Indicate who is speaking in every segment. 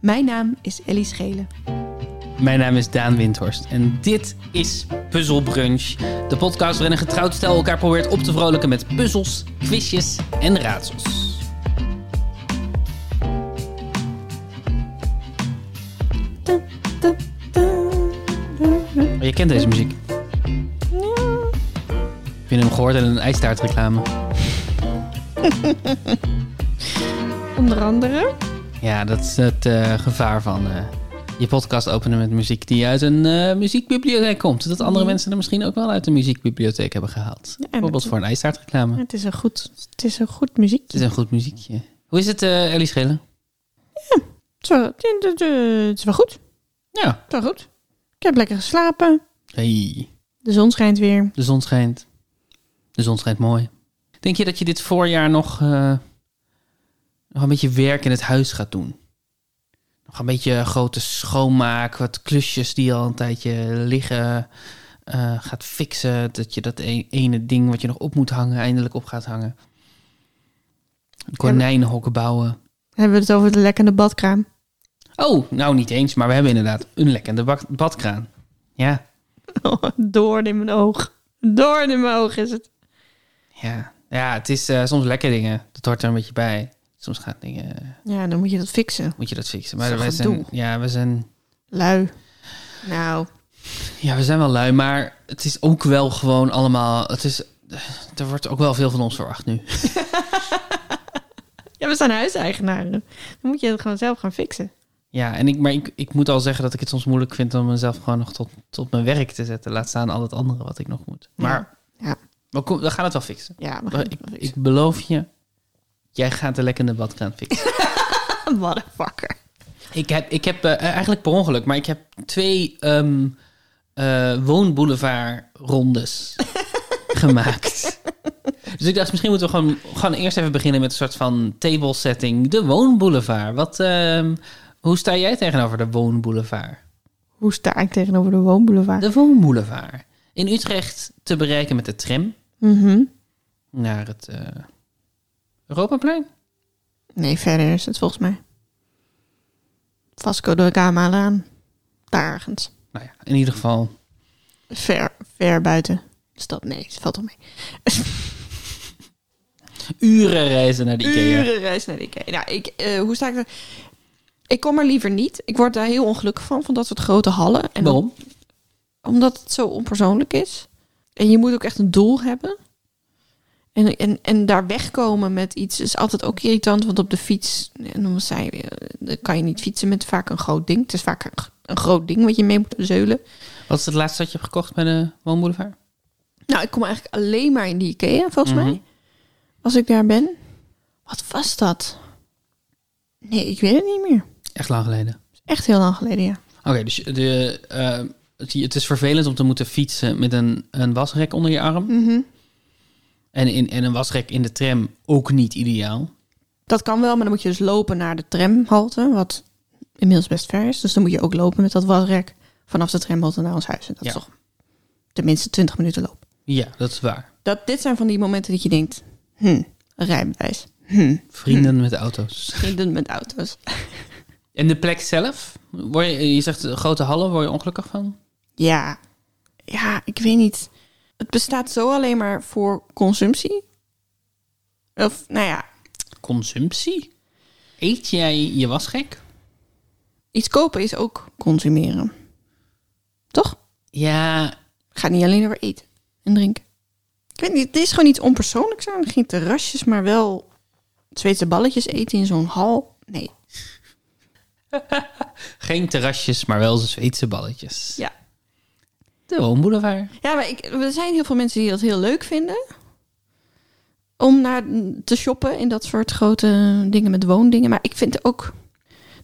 Speaker 1: Mijn naam is Ellie Schelen.
Speaker 2: Mijn naam is Daan Windhorst en dit is Puzzle Brunch. De podcast waarin een getrouwd stel elkaar probeert op te vrolijken met puzzels, quizjes en raadsels.
Speaker 1: Dun, dun, dun, dun, dun.
Speaker 2: Maar Oh, je kent deze muziek. Heb je hem gehoord in een ijstaartreclame?
Speaker 1: Onder andere.
Speaker 2: Ja, dat is het eh, gevaar van eh, je podcast openen met muziek die uit een eh, muziekbibliotheek komt. Dat andere mensen er misschien ook wel uit de muziekbibliotheek hebben gehaald.
Speaker 1: en
Speaker 2: Bijvoorbeeld
Speaker 1: dat-
Speaker 2: voor een ijstaartreclame.
Speaker 1: Het is een goed, het is een goed muziekje.
Speaker 2: Het is een goed muziekje. Hoe is het, eh Ellie Schillen?
Speaker 1: Het is wel, het- het- het is wel goed.
Speaker 2: Ja.
Speaker 1: Het is wel goed. Ik heb lekker geslapen.
Speaker 2: Hey.
Speaker 1: De zon schijnt weer.
Speaker 2: De zon schijnt. De zon schijnt mooi. Denk je dat je dit voorjaar nog, eh, nog een beetje werk in het huis gaat doen? Nog een beetje grote schoonmaak, wat klusjes die al een tijdje liggen eh, gaat fixen. Dat je dat e- ene ding wat je nog op moet hangen, eindelijk op gaat hangen. Konijnenhokken bouwen.
Speaker 1: Hebben we het over de lekkende badkraam.
Speaker 2: Oh, nou niet eens, maar we hebben inderdaad een lekkende bak- badkraan. Ja,
Speaker 1: Oh, Doorn in mijn oog. Doorn in mijn oog is het.
Speaker 2: ja. ja het is eh, soms lekker dingen. Dat hoort er een beetje bij. Soms gaan dingen
Speaker 1: Ja, dan moet je dat fixen.
Speaker 2: moet je dat fixen.
Speaker 1: Dat
Speaker 2: Maar
Speaker 1: is
Speaker 2: wij
Speaker 1: een
Speaker 2: zijn,
Speaker 1: gedoe.
Speaker 2: ja, we zijn,
Speaker 1: Lui. Nou,
Speaker 2: ja, we zijn wel lui, maar het is ook wel gewoon allemaal. Het is, er wordt ook wel veel van ons verwacht nu.
Speaker 1: ja, we zijn huiseigenaren. Dan moet je het gewoon zelf gaan fixen.
Speaker 2: Ja, en ik, maar ik, ik moet al zeggen dat ik het soms moeilijk vind om mezelf gewoon nog tot, tot mijn werk te zetten. Laat staan al het andere wat ik nog moet.
Speaker 1: Ja.
Speaker 2: Maar
Speaker 1: Ja.
Speaker 2: we, kom- we gaan het wel fixen.
Speaker 1: Ja, we
Speaker 2: We-
Speaker 1: gaan
Speaker 2: Ik,
Speaker 1: het wel
Speaker 2: ik
Speaker 1: fixen.
Speaker 2: beloof je, jij gaat de lekkende badkraan fixen.
Speaker 1: Motherfucker.
Speaker 2: ik heb, ik heb eh, eigenlijk per ongeluk, maar ik heb twee ehm eh, woonboulevard-rondes gemaakt. Dus ik dacht, misschien moeten we gewoon, gewoon eerst even beginnen met een soort van table setting. De woonboulevard. Wat, ehm, hoe sta jij tegenover de woonboulevard?
Speaker 1: Hoe sta ik tegenover de woonboulevard?
Speaker 2: De woonboulevard. In Utrecht te bereiken met de tram
Speaker 1: Mhm.
Speaker 2: naar het eh, Europaplein.
Speaker 1: Nee, verder is het volgens mij. Vasco de Gama aan. Daar ergens.
Speaker 2: Nou ja, in ieder geval.
Speaker 1: Ver, ver buiten. de stad. nee, het valt al mee.
Speaker 2: Uren reizen naar de IKEA.
Speaker 1: Uren reis naar de Ikea. Nou, ik, eh, hoe sta ik er? Ik kom er liever niet. Ik word daar heel ongelukkig van, van dat soort grote hallen. En
Speaker 2: Waarom?
Speaker 1: omdat het zo onpersoonlijk is. En je moet ook echt een doel hebben. En, en, en daar wegkomen met iets is altijd ook irritant. Want op de fiets, en dan zei je, eh, dan kan je niet fietsen met vaak een groot ding. Het is vaak een, g- een groot ding wat je mee moet zeulen.
Speaker 2: Wat is het laatste dat je hebt gekocht bij de woonboulevard?
Speaker 1: Nou, ik kom eigenlijk alleen maar in die Ikea, volgens
Speaker 2: Mhm.
Speaker 1: mij. Als ik daar ben. Wat was dat? Nee, ik weet het niet meer.
Speaker 2: Echt lang geleden.
Speaker 1: Echt heel lang geleden, ja.
Speaker 2: Oké, dus je- de, eh, zie je, het is vervelend om te moeten fietsen met een, een wasrek onder je arm. En, in, en een wasrek in de tram ook niet ideaal.
Speaker 1: Dat kan wel, maar dan moet je dus lopen naar de tramhalte, wat inmiddels best ver is. Dus dan moet je ook lopen met dat wasrek vanaf de tramhalte naar ons huis. En dat
Speaker 2: Ja.
Speaker 1: is toch tenminste 20 minuten lopen.
Speaker 2: Ja, dat is waar.
Speaker 1: Dat, dit zijn van die momenten dat je denkt, hm, rijbewijs, hm,
Speaker 2: Vrienden met auto's.
Speaker 1: vrienden met auto's.
Speaker 2: En de plek zelf? Word je, je zegt eh, grote hallen, word je ongelukkig van?
Speaker 1: Ja, ja, ik weet niet. Het bestaat zo alleen maar voor consumptie. Of, nou ja,
Speaker 2: Consumptie? Eet jij je wasrek?
Speaker 1: iets kopen is ook consumeren. Toch?
Speaker 2: Ja,
Speaker 1: gaat niet alleen over eten en drinken. Ik weet niet, het is gewoon iets onpersoonlijks aan. Geen terrasjes, maar wel Zweedse balletjes eten in zo'n hal. Nee.
Speaker 2: geen terrasjes, maar wel Zweedse balletjes.
Speaker 1: Ja.
Speaker 2: De woonboulevard.
Speaker 1: Ja, maar ik, er zijn heel veel mensen die dat heel leuk vinden. Om naar te shoppen in dat soort grote dingen met woondingen. Maar ik vind ook...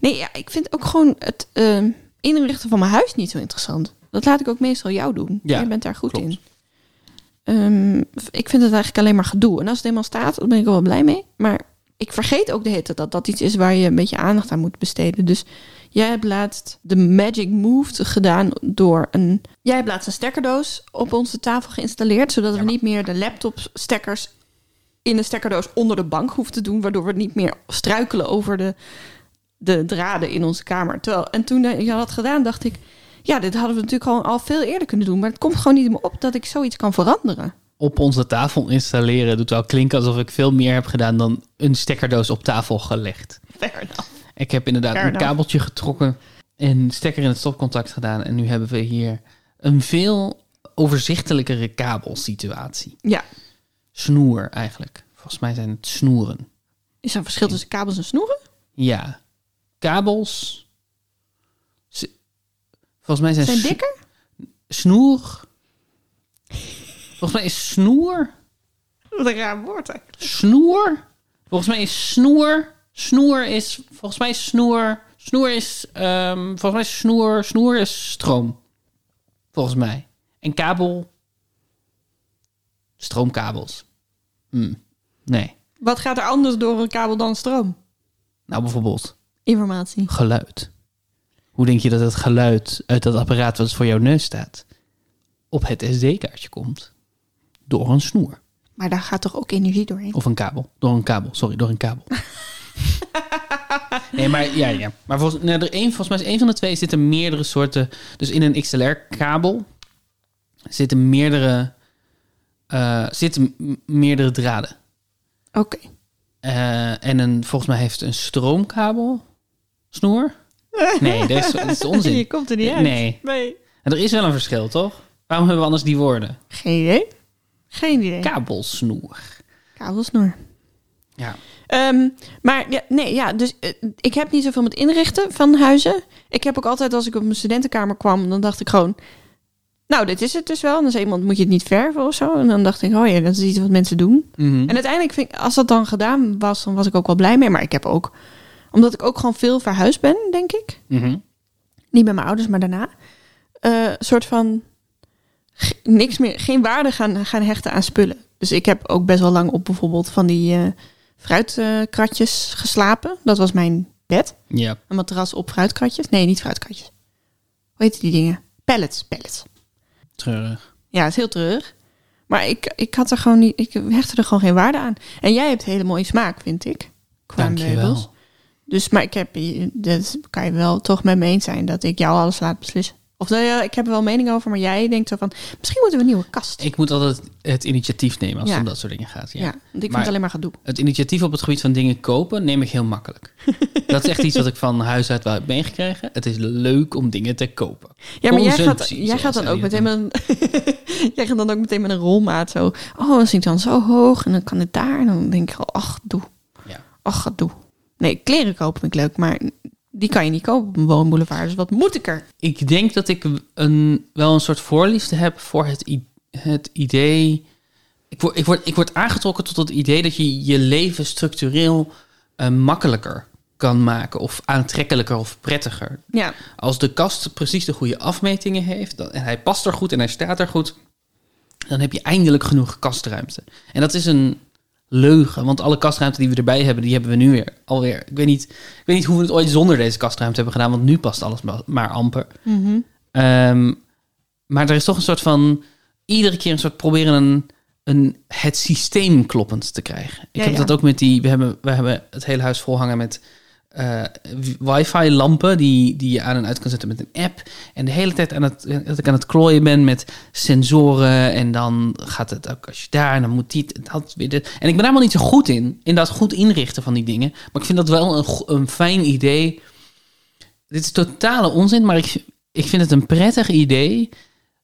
Speaker 1: Nee, ja, ik vind ook gewoon het eh, inrichten van mijn huis niet zo interessant. Dat laat ik ook meestal jou doen.
Speaker 2: Ja,
Speaker 1: Jij bent daar goed
Speaker 2: klopt.
Speaker 1: in. Ehm, ik vind het eigenlijk alleen maar gedoe. En als het eenmaal staat, dan ben ik er wel blij mee. Maar ik vergeet ook de hitte dat dat iets is waar je een beetje aandacht aan moet besteden. Dus jij hebt laatst de magic move gedaan door een... Jij hebt laatst een stekkerdoos op onze tafel geïnstalleerd... zodat we niet meer de laptopstekkers in de stekkerdoos onder de bank hoeven te doen... waardoor we niet meer struikelen over de de draden in onze kamer. Terwijl, en toen eh, je dat had gedaan, dacht ik... Ja, dit hadden we natuurlijk gewoon al veel eerder kunnen doen. Maar het komt gewoon niet in me op dat ik zoiets kan veranderen.
Speaker 2: Op onze tafel installeren doet wel klinken alsof ik veel meer heb gedaan dan een stekkerdoos op tafel gelegd. Ik heb inderdaad
Speaker 1: Fair
Speaker 2: een
Speaker 1: enough.
Speaker 2: kabeltje getrokken en stekker in het stopcontact gedaan. En nu hebben we hier een veel overzichtelijkere kabelsituatie.
Speaker 1: Ja,
Speaker 2: Snoer eigenlijk. Volgens mij zijn het snoeren.
Speaker 1: is er een verschil tussen kabels en snoeren?
Speaker 2: Ja. Kabels. Ze- Volgens mij zijn,
Speaker 1: Zijn
Speaker 2: s-
Speaker 1: dikker?
Speaker 2: snoer. Volgens mij is snoer.
Speaker 1: Wat een raar woord eigenlijk.
Speaker 2: Snoer. Volgens mij is snoer. Snoer is. Volgens mij is snoer. Snoer is. ehm, volgens mij is snoer. Snoer is stroom. Volgens mij. En kabel. Stroomkabels. Hm. Nee.
Speaker 1: Wat gaat er anders door een kabel dan stroom?
Speaker 2: Nou, bijvoorbeeld
Speaker 1: Informatie.
Speaker 2: geluid. Hoe denk je dat het geluid uit dat apparaat wat voor jouw neus staat. op het SD-kaartje komt? Door een snoer.
Speaker 1: Maar daar gaat toch ook energie doorheen?
Speaker 2: Of een kabel. Door een kabel, sorry, door een kabel. nee, maar ja, ja. Maar volgens, nou, er één, volgens mij is één van de twee zitten meerdere soorten. Dus in een XLR-kabel zitten meerdere, eh, zitten m- meerdere draden.
Speaker 1: Oké.
Speaker 2: Eh, en een, volgens mij heeft een stroomkabel snoer. Nee, dat is, dat is onzin.
Speaker 1: Je komt er niet uit.
Speaker 2: Nee.
Speaker 1: nee.
Speaker 2: En er is wel een verschil, toch? Waarom hebben we anders die woorden?
Speaker 1: Geen idee. Geen idee.
Speaker 2: Kabelsnoer.
Speaker 1: Kabelsnoer.
Speaker 2: Ja.
Speaker 1: Ehm, maar ja, nee, ja, dus eh, ik heb niet zoveel met inrichten van huizen. Ik heb ook altijd, als ik op mijn studentenkamer kwam, dan dacht ik gewoon... Nou, dit is het dus wel. En dan zei iemand, moet je het niet verven of zo? En dan dacht ik, oh ja, dat is iets wat mensen doen.
Speaker 2: Mhm.
Speaker 1: En uiteindelijk vind ik, als dat dan gedaan was, dan was ik ook wel blij mee. Maar ik heb ook, omdat ik ook gewoon veel verhuisd ben, denk ik.
Speaker 2: Mhm.
Speaker 1: Niet bij mijn ouders, maar daarna. eh, soort van g- niks meer, geen waarde gaan, gaan hechten aan spullen. Dus ik heb ook best wel lang op bijvoorbeeld van die eh, fruitkratjes geslapen. Dat was mijn bed.
Speaker 2: Ja.
Speaker 1: Een matras op fruitkratjes. Nee, niet fruitkratjes. Hoe heet die dingen? Pallets, pallets.
Speaker 2: Treurig.
Speaker 1: Ja, het is heel treurig. Maar ik, ik had er gewoon niet, ik hechtte er gewoon geen waarde aan. En jij hebt hele mooie smaak, vind ik. Qua
Speaker 2: Dank je
Speaker 1: meubels.
Speaker 2: wel.
Speaker 1: Dus, maar ik heb, dat kan je wel toch met me eens zijn dat ik jou alles laat beslissen. Of nou ja, ik heb er wel mening over, maar jij denkt zo van, misschien moeten we een nieuwe kast.
Speaker 2: Ik moet altijd het initiatief nemen als het
Speaker 1: Ja.
Speaker 2: om dat soort dingen gaat.
Speaker 1: ja.
Speaker 2: Ja.
Speaker 1: want ik vind
Speaker 2: Maar-
Speaker 1: het alleen maar gedoe.
Speaker 2: Het initiatief op het gebied van dingen kopen neem ik heel makkelijk. dat is echt iets wat ik van huis uit wel heb meegekregen. Het is leuk om dingen te kopen.
Speaker 1: Ja, maar jij gaat,
Speaker 2: Consumptie,
Speaker 1: jij gaat dan
Speaker 2: zoals
Speaker 1: ook
Speaker 2: zij dat
Speaker 1: meteen met een, jij gaat dan ook meteen met een rolmaat zo. Oh, dan zit ik dan zo hoog en dan kan het daar. En dan denk ik al, ach, doe.
Speaker 2: Ja.
Speaker 1: Ach, wat doe. Nee, kleren kopen vind ik leuk, maar die kan je niet kopen op een woonboulevard. Dus wat moet ik er?
Speaker 2: Ik denk dat ik een, wel een soort voorliefde heb voor het, i- het idee... Ik word, ik, word, ik word aangetrokken tot het idee dat je je leven structureel eh, makkelijker kan maken. Of aantrekkelijker of prettiger.
Speaker 1: Ja,
Speaker 2: Als de kast precies de goede afmetingen heeft dan, en hij past er goed en hij staat er goed, dan heb je eindelijk genoeg kastruimte. En dat is een leugen, want alle kastruimte die we erbij hebben, die hebben we nu weer alweer. Ik weet niet, ik weet niet hoe we het ooit zonder deze kastruimte hebben gedaan, want nu past alles ma- maar amper. Ehm, maar er is toch een soort van iedere keer een soort proberen een, een het systeem kloppend te krijgen. Ik
Speaker 1: Ja,
Speaker 2: heb
Speaker 1: ja.
Speaker 2: dat ook met die. We hebben, we hebben het hele huis volhangen met eh, wi- wifi-lampen die, die je aan en uit kan zetten met een app. En de hele tijd aan het, dat ik aan het klooien ben met sensoren. En dan gaat het ook als je daar en dan moet dit dat weer. dit. En ik ben daar helemaal niet zo goed in, in dat goed inrichten van die dingen. Maar ik vind dat wel een, go- een fijn idee. Dit is totale onzin, maar ik, ik vind het een prettig idee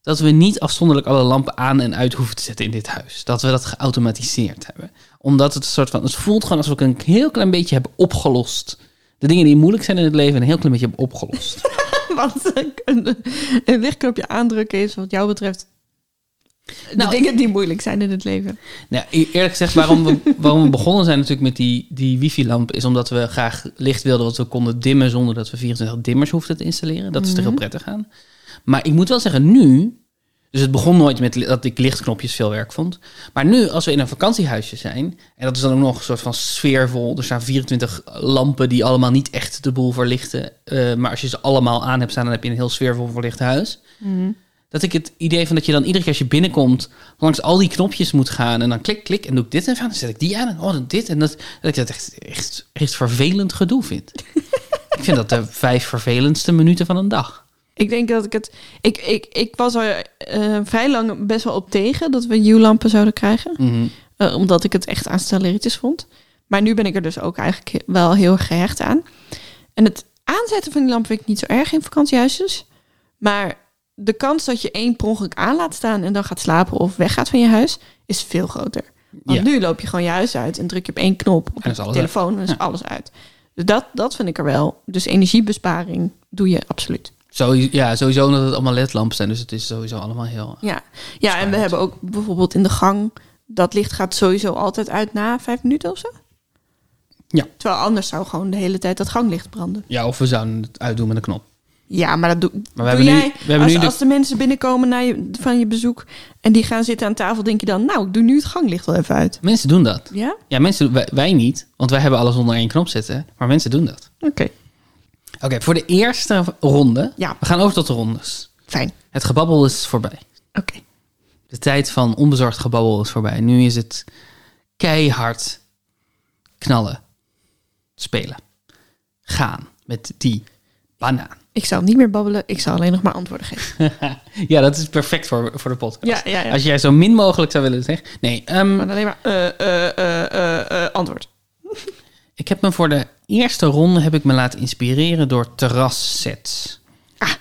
Speaker 2: dat we niet afzonderlijk alle lampen aan en uit hoeven te zetten in dit huis. Dat we dat geautomatiseerd hebben. Omdat het een soort van. Het voelt gewoon alsof ik een heel klein beetje heb opgelost. De dingen die moeilijk zijn in het leven een heel klein beetje heb opgelost.
Speaker 1: want een, een lichtknopje aandrukken is wat jou betreft de
Speaker 2: Nou,
Speaker 1: dingen die moeilijk zijn in het leven.
Speaker 2: nou, e- eerlijk gezegd, waarom we, waarom we begonnen zijn natuurlijk met die, die wifi-lamp... is omdat we graag licht wilden wat we konden dimmen... zonder dat we 24 dimmers hoefden te installeren. Dat is er heel prettig aan. Maar ik moet wel zeggen, nu... Dus het begon nooit met li- dat ik lichtknopjes veel werk vond. Maar nu, als we in een vakantiehuisje zijn... en dat is dan ook nog een soort van sfeervol... er staan 24 lampen die allemaal niet echt de boel verlichten... eh, maar als je ze allemaal aan hebt staan... dan heb je een heel sfeervol verlicht huis... Dat ik het idee van dat je dan iedere keer als je binnenkomt langs al die knopjes moet gaan en dan klik, klik en doe ik dit even aan, dan zet ik die aan en oh, dan dit en dat. Dat ik dat echt, echt, echt vervelend gedoe vind. ik Ik vind dat de vijf vervelendste minuten van een dag.
Speaker 1: Ik denk dat ik het. Ik, ik, ik was er eh, vrij lang best wel op tegen dat we U-lampen zouden krijgen.
Speaker 2: Mhm.
Speaker 1: Eh, omdat ik het echt aanstelleritis vond. Maar nu ben ik er dus ook eigenlijk he- wel heel erg gehecht aan. En het aanzetten van die lamp vind ik niet zo erg in vakantiehuisjes. Maar de kans dat je één per ongeluk aan laat staan en dan gaat slapen of weggaat van je huis, is veel groter. Want
Speaker 2: Ja.
Speaker 1: nu loop je gewoon je huis uit en druk je op één knop op
Speaker 2: En dat is
Speaker 1: je
Speaker 2: alles
Speaker 1: telefoon en dan is
Speaker 2: Ja.
Speaker 1: alles uit. Dus dat, dat vind ik er wel. Dus energiebesparing doe je absoluut.
Speaker 2: Zo, ja, sowieso omdat het allemaal ledlampen zijn. Dus het is sowieso allemaal heel...
Speaker 1: Ja, ja en we
Speaker 2: Spannend.
Speaker 1: hebben ook bijvoorbeeld in de gang... dat licht gaat sowieso altijd uit na vijf minuten of zo.
Speaker 2: Ja.
Speaker 1: Terwijl anders zou gewoon de hele tijd dat ganglicht branden.
Speaker 2: Ja, of we zouden het uitdoen met een knop.
Speaker 1: Ja, maar dat doe,
Speaker 2: we
Speaker 1: doe
Speaker 2: hebben nu-
Speaker 1: jij...
Speaker 2: we hebben
Speaker 1: als,
Speaker 2: nu de-
Speaker 1: als de mensen binnenkomen na je, van je bezoek... en die gaan zitten aan tafel, denk je dan... nou, ik doe nu het ganglicht wel even uit.
Speaker 2: Mensen doen dat.
Speaker 1: Ja?
Speaker 2: Ja, mensen, wij, wij niet, want wij hebben alles onder één knop zitten. Maar mensen doen dat.
Speaker 1: Oké,
Speaker 2: Oké, voor de eerste ronde.
Speaker 1: Ja.
Speaker 2: We gaan over tot de rondes.
Speaker 1: fijn.
Speaker 2: Het gebabbel is voorbij.
Speaker 1: Oké.
Speaker 2: De tijd van onbezorgd gebabbel is voorbij. Nu is het keihard knallen, spelen, gaan met die banaan.
Speaker 1: Ik zal niet meer babbelen, ik zal alleen nog maar antwoorden geven.
Speaker 2: ja, dat is perfect voor, voor de podcast.
Speaker 1: Ja, ja, ja.
Speaker 2: Als jij zo min mogelijk zou willen zeggen. Nee, ehm,
Speaker 1: Maar alleen maar eh, eh, eh, eh, eh, antwoord.
Speaker 2: ik heb me voor de eerste ronde heb ik me laten inspireren door terrassets.
Speaker 1: Ah.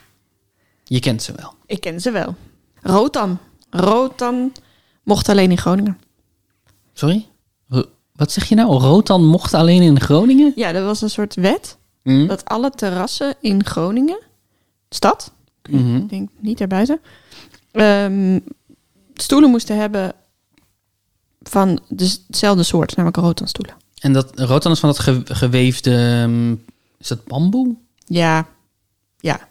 Speaker 2: Je kent ze wel.
Speaker 1: Ik ken ze wel. Rotan. Rotan mocht alleen in Groningen.
Speaker 2: Sorry? Ro- Wat zeg je nou? Rotan mocht alleen in Groningen?
Speaker 1: Ja, er was een soort wet
Speaker 2: Hm?
Speaker 1: dat alle terrassen in Groningen, stad,
Speaker 2: Mhm.
Speaker 1: ik denk niet daarbuiten, ehm, stoelen moesten hebben van dezelfde soort, namelijk rotanstoelen.
Speaker 2: En dat rotan is van dat ge- geweefde... ehm, is dat bamboe?
Speaker 1: Ja, ja.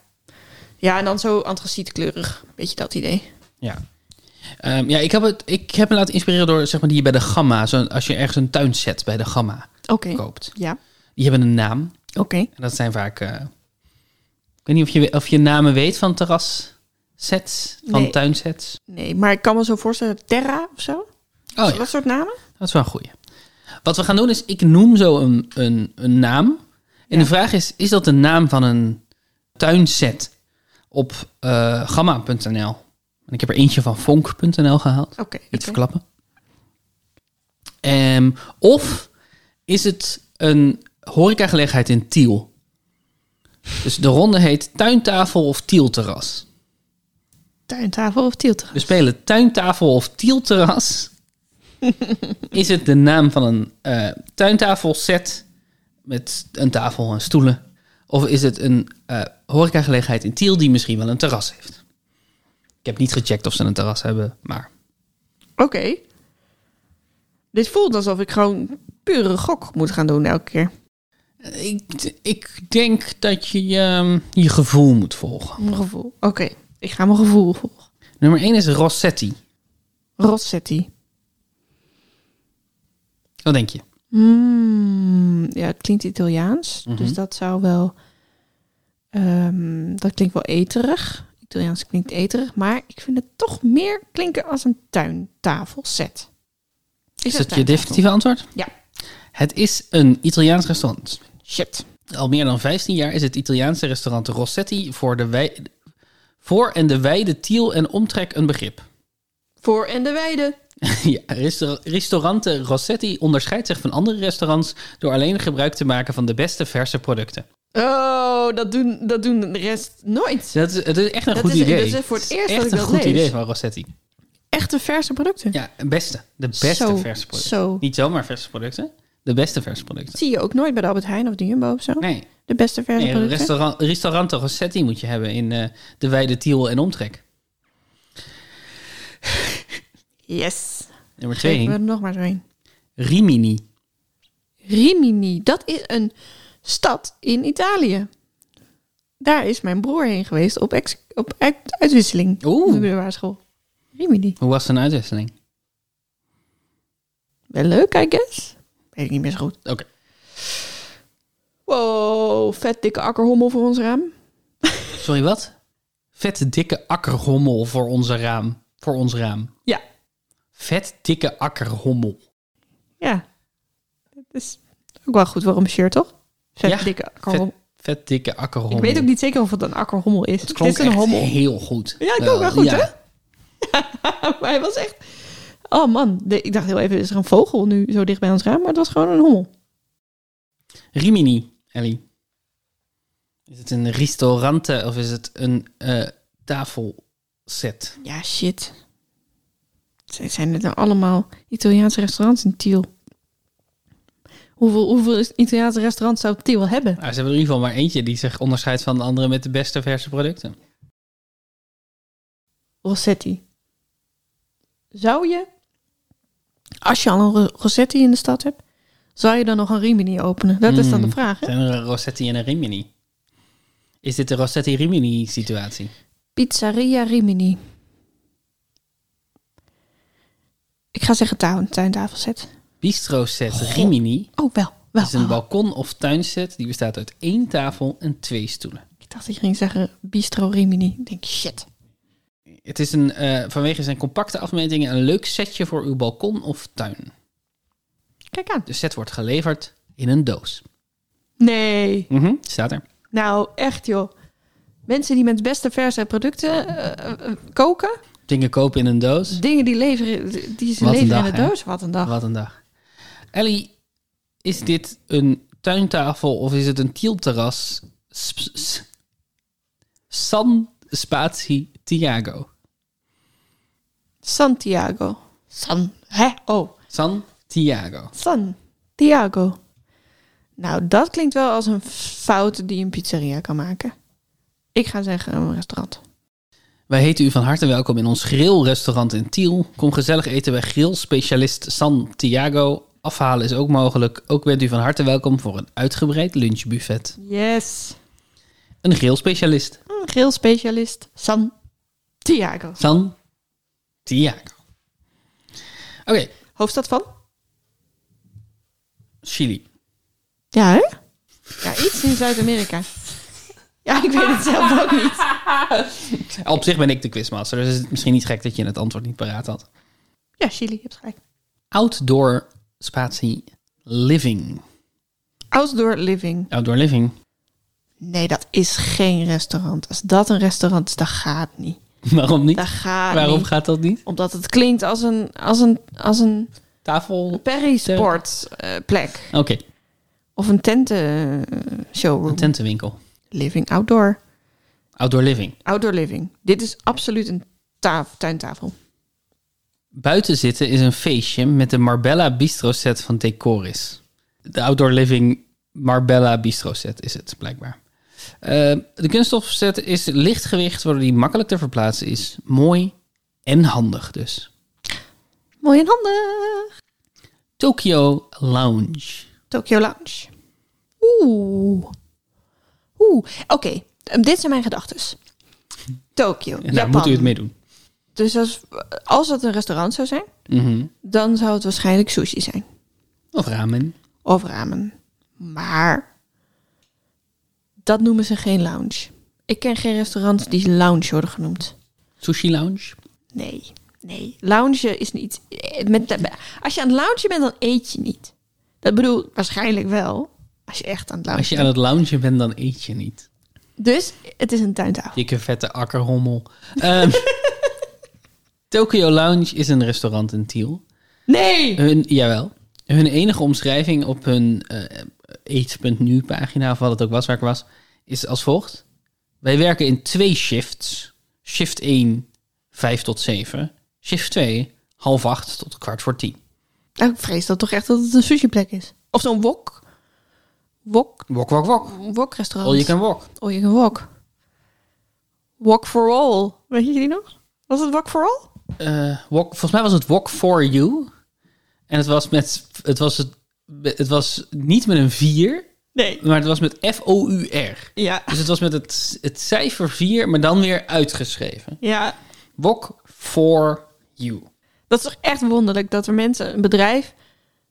Speaker 1: Ja, en dan zo antracietkleurig, weet je dat idee?
Speaker 2: Ja. Ehm, ja, ik heb, het, ik heb me laten inspireren door zeg maar, die je bij de Gamma... Zo, als je ergens een tuinset bij de Gamma
Speaker 1: Oké.
Speaker 2: koopt.
Speaker 1: Ja,
Speaker 2: Die hebben een naam.
Speaker 1: oké.
Speaker 2: En dat zijn vaak... eh, ik weet niet of je, we- of je namen weet van terrassets, van
Speaker 1: Nee.
Speaker 2: tuinsets.
Speaker 1: Nee, maar ik kan me zo voorstellen, Terra of zo?
Speaker 2: Oh ja.
Speaker 1: Dat soort namen?
Speaker 2: Dat is wel een goeie. Wat we gaan doen is, ik noem zo een, een, een naam.
Speaker 1: Ja.
Speaker 2: En de vraag is, is dat de naam van een tuinset op eh, gamma.nl? En ik heb er eentje van fonk.nl gehaald.
Speaker 1: Oké.
Speaker 2: Niet
Speaker 1: oké.
Speaker 2: verklappen. Ehm, of is het een horecagelegenheid in Tiel? Dus de ronde heet tuintafel of Tielterras.
Speaker 1: Tuintafel of tielter?
Speaker 2: We spelen tuintafel of tielterras. is het de naam van een eh tuintafelset met een tafel en stoelen? Of is het een eh horecagelegenheid in Tiel die misschien wel een terras heeft? Ik heb niet gecheckt of ze een terras hebben, maar...
Speaker 1: Oké. Dit voelt alsof ik gewoon pure gok moet gaan doen elke keer.
Speaker 2: Ik, ik denk dat je ehm, je gevoel moet volgen.
Speaker 1: Mijn gevoel. Oké, ik ga mijn gevoel volgen.
Speaker 2: Nummer 1 is Rossetti.
Speaker 1: Rossetti.
Speaker 2: Wat denk je?
Speaker 1: Mm, ja, het klinkt Italiaans.
Speaker 2: Mhm.
Speaker 1: Dus dat zou wel... ehm, dat klinkt wel eterig. Italiaans klinkt eterig. Maar ik vind het toch meer klinken als een tuintafelset.
Speaker 2: Is
Speaker 1: het
Speaker 2: dat je definitieve antwoord?
Speaker 1: Ja.
Speaker 2: Het is een Italiaans restaurant.
Speaker 1: Shit.
Speaker 2: Al meer dan 15 jaar is het Italiaanse restaurant Rossetti voor, de wij- voor en de wijde Tiel en omtrek een begrip.
Speaker 1: Voor en de weide.
Speaker 2: ja, resta- restaurante Rossetti onderscheidt zich van andere restaurants door alleen gebruik te maken van de beste verse producten.
Speaker 1: Oh, dat doen, dat doen de rest nooit.
Speaker 2: Dat is, het is echt een
Speaker 1: Dat
Speaker 2: goed
Speaker 1: is-
Speaker 2: idee.
Speaker 1: dat is voor het eerst
Speaker 2: echt
Speaker 1: dat ik
Speaker 2: een
Speaker 1: dat
Speaker 2: goed
Speaker 1: lees.
Speaker 2: idee van Rossetti.
Speaker 1: Echte verse producten.
Speaker 2: Ja, het beste. De beste
Speaker 1: Zo,
Speaker 2: verse producten.
Speaker 1: Zo.
Speaker 2: Niet zomaar verse producten. De beste verse producten.
Speaker 1: zie je ook nooit bij de Albert Heijn of de Jumbo of zo.
Speaker 2: Nee,
Speaker 1: De beste verse
Speaker 2: nee
Speaker 1: producten.
Speaker 2: restaurant, restaurante Rossetti moet je hebben in eh, de wijde Tiel en omtrek.
Speaker 1: Yes.
Speaker 2: Nummer
Speaker 1: Geven
Speaker 2: twee,
Speaker 1: we er nog maar zo een.
Speaker 2: Rimini.
Speaker 1: Rimini, dat is een stad in Italië. Daar is mijn broer heen geweest op, ex- op uit- uitwisseling. Op de
Speaker 2: Oeh,
Speaker 1: middelbare school. Rimini.
Speaker 2: hoe was een uitwisseling?
Speaker 1: Wel leuk, I guess. Weet ik niet meer zo goed.
Speaker 2: Oké.
Speaker 1: Wow, vet dikke akkerhommel voor ons raam.
Speaker 2: Sorry, wat? Vet dikke akkerhommel voor, onze raam. voor ons raam.
Speaker 1: Ja.
Speaker 2: Vet dikke akkerhommel.
Speaker 1: Ja. Dat is ook wel goed waarom shirt, toch? Vet
Speaker 2: Ja,
Speaker 1: dikke akkerhommel. Vet,
Speaker 2: Vet dikke akkerhommel.
Speaker 1: Ik weet ook niet zeker of het een akkerhommel is.
Speaker 2: Het klonk
Speaker 1: is een
Speaker 2: echt
Speaker 1: hommel.
Speaker 2: heel goed.
Speaker 1: Ja, het klonk wel
Speaker 2: Eh,
Speaker 1: goed,
Speaker 2: ja.
Speaker 1: hè? maar hij was echt... Oh man, de- ik dacht heel even, is er een vogel nu zo dicht bij ons raam? Maar het was gewoon een hommel.
Speaker 2: Rimini, Ellie. Is het een restaurante of is het een eh, tafelset?
Speaker 1: Ja, shit. Z- Zijn het nou allemaal Italiaanse restaurants in Tiel? Hoeveel, hoeveel is- Italiaanse restaurants zou Tiel hebben?
Speaker 2: Nou, ze hebben er in ieder geval maar eentje die zich onderscheidt van de andere met de beste verse producten.
Speaker 1: Rossetti. Zou je, als je al een Ro- Rossetti in de stad hebt, zou je dan nog een Rimini openen? Dat is dan
Speaker 2: Mm.
Speaker 1: de vraag, hè?
Speaker 2: Zijn er een Rossetti en een Rimini? Is dit de Rossetti-Rimini situatie?
Speaker 1: Pizzeria Rimini. Ik ga zeggen tuin, tuintafelset.
Speaker 2: Bistro set
Speaker 1: Goh.
Speaker 2: Rimini
Speaker 1: Oh, wel. wel
Speaker 2: is een
Speaker 1: wel.
Speaker 2: balkon- of tuinset die bestaat uit één tafel en twee stoelen.
Speaker 1: Oh, Ik dacht dat je ging zeggen bistro Rimini. Ik denk, shit.
Speaker 2: Het is een, eh, vanwege zijn compacte afmetingen een leuk setje voor uw balkon of tuin.
Speaker 1: Kijk aan.
Speaker 2: De set wordt geleverd in een doos.
Speaker 1: Nee.
Speaker 2: Mhm, Staat er.
Speaker 1: Nou, echt joh. Mensen die met beste verse producten eh, eh, koken,
Speaker 2: Dingen kopen in een doos.
Speaker 1: dingen die, leveren, die ze
Speaker 2: Wat een
Speaker 1: leveren
Speaker 2: dag,
Speaker 1: in de
Speaker 2: hè?
Speaker 1: doos, wat een dag.
Speaker 2: Wat een dag. Ellie, is dit een tuintafel of is het een tielterras? S- s- San Spatie Tiago.
Speaker 1: Santiago. San. Hè? Oh,
Speaker 2: San Tiago.
Speaker 1: Santiago. Nou, dat klinkt wel als een fout die een pizzeria kan maken. Ik ga zeggen een restaurant.
Speaker 2: Wij heten u van harte welkom in ons grillrestaurant in Tiel. Kom gezellig eten bij grillspecialist Santiago. Afhalen is ook mogelijk. Ook bent u van harte welkom voor een uitgebreid lunchbuffet.
Speaker 1: Yes.
Speaker 2: Een grillspecialist
Speaker 1: Een grillspecialist. Santiago.
Speaker 2: Santiago. Oké,
Speaker 1: Hoofdstad van?
Speaker 2: Chili.
Speaker 1: Ja, hè? Ja, iets in Zuid-Amerika. Ja, ik weet het zelf ook niet.
Speaker 2: Op zich ben ik de quizmaster, dus is het misschien niet gek dat je het antwoord niet paraat had.
Speaker 1: Ja, Chili, je hebt gelijk.
Speaker 2: Outdoor spatie living.
Speaker 1: Outdoor living.
Speaker 2: Outdoor living.
Speaker 1: Nee, dat is geen restaurant. Als dat een restaurant is, dat gaat niet.
Speaker 2: Waarom niet?
Speaker 1: Dat gaat
Speaker 2: Waarom
Speaker 1: niet.
Speaker 2: gaat dat niet?
Speaker 1: Omdat het klinkt als een, als een, als een
Speaker 2: Tafel.
Speaker 1: perisport eh, plek.
Speaker 2: Oké,
Speaker 1: Of een tenten eh, showroom.
Speaker 2: een tentenwinkel.
Speaker 1: Living outdoor.
Speaker 2: Outdoor living.
Speaker 1: Outdoor living. Dit is absoluut een taf- tuintafel.
Speaker 2: Buiten zitten is een feestje met de Marbella Bistro set van Decoris. De Outdoor Living Marbella Bistro set is het, blijkbaar. Eh, de kunststof set is lichtgewicht, waardoor die makkelijk te verplaatsen is. Mooi en handig dus.
Speaker 1: Mooi en handig.
Speaker 2: Tokyo Lounge.
Speaker 1: Tokyo Lounge. Oeh. Oeh. Oké, ehm, dit zijn mijn gedachtes. Tokyo,
Speaker 2: En daar
Speaker 1: Japan.
Speaker 2: moet u het mee doen.
Speaker 1: Dus als, als het een restaurant zou zijn,
Speaker 2: Mhm.
Speaker 1: dan zou het waarschijnlijk sushi zijn.
Speaker 2: Of ramen.
Speaker 1: Of ramen. Maar dat noemen ze geen lounge. Ik ken geen restaurants die lounge worden genoemd.
Speaker 2: Sushi lounge.
Speaker 1: Nee, nee. Lounge is niet... eh, Met, als je aan het loungen bent, dan eet je niet. Dat bedoel waarschijnlijk wel. Als je echt aan het
Speaker 2: Als
Speaker 1: loungen
Speaker 2: je aan het loungen bent, dan eet je niet.
Speaker 1: bent. Dus het is een tuintafel.
Speaker 2: Dikke vette akkerhommel. Ehm, Tokyo Lounge is een restaurant in Tiel.
Speaker 1: Nee!
Speaker 2: Hun, jawel. Hun enige omschrijving op hun eh, eet.nu pagina, of wat het ook was waar ik was, is als volgt. Wij werken in twee shifts. Shift 1, 5 tot 7. Shift 2, half 8 tot kwart voor 10.
Speaker 1: Nou, ik vrees dat toch echt dat het een sushiplek is. Of zo'n wok. Wok.
Speaker 2: Wok, wok, wok.
Speaker 1: Wok restaurant.
Speaker 2: All you can wok.
Speaker 1: Oh, je kan walk. Walk for all. Weet je die nog? Was het walk for all?
Speaker 2: eh, walk, volgens mij was het Walk for You. En het was, met, het, was het, het was niet met een 4,
Speaker 1: Nee.
Speaker 2: maar het was met F-O-U-R.
Speaker 1: Ja.
Speaker 2: Dus het was met het, het cijfer 4, maar dan weer uitgeschreven.
Speaker 1: Ja.
Speaker 2: Walk for You.
Speaker 1: Dat is toch echt wonderlijk dat er mensen een bedrijf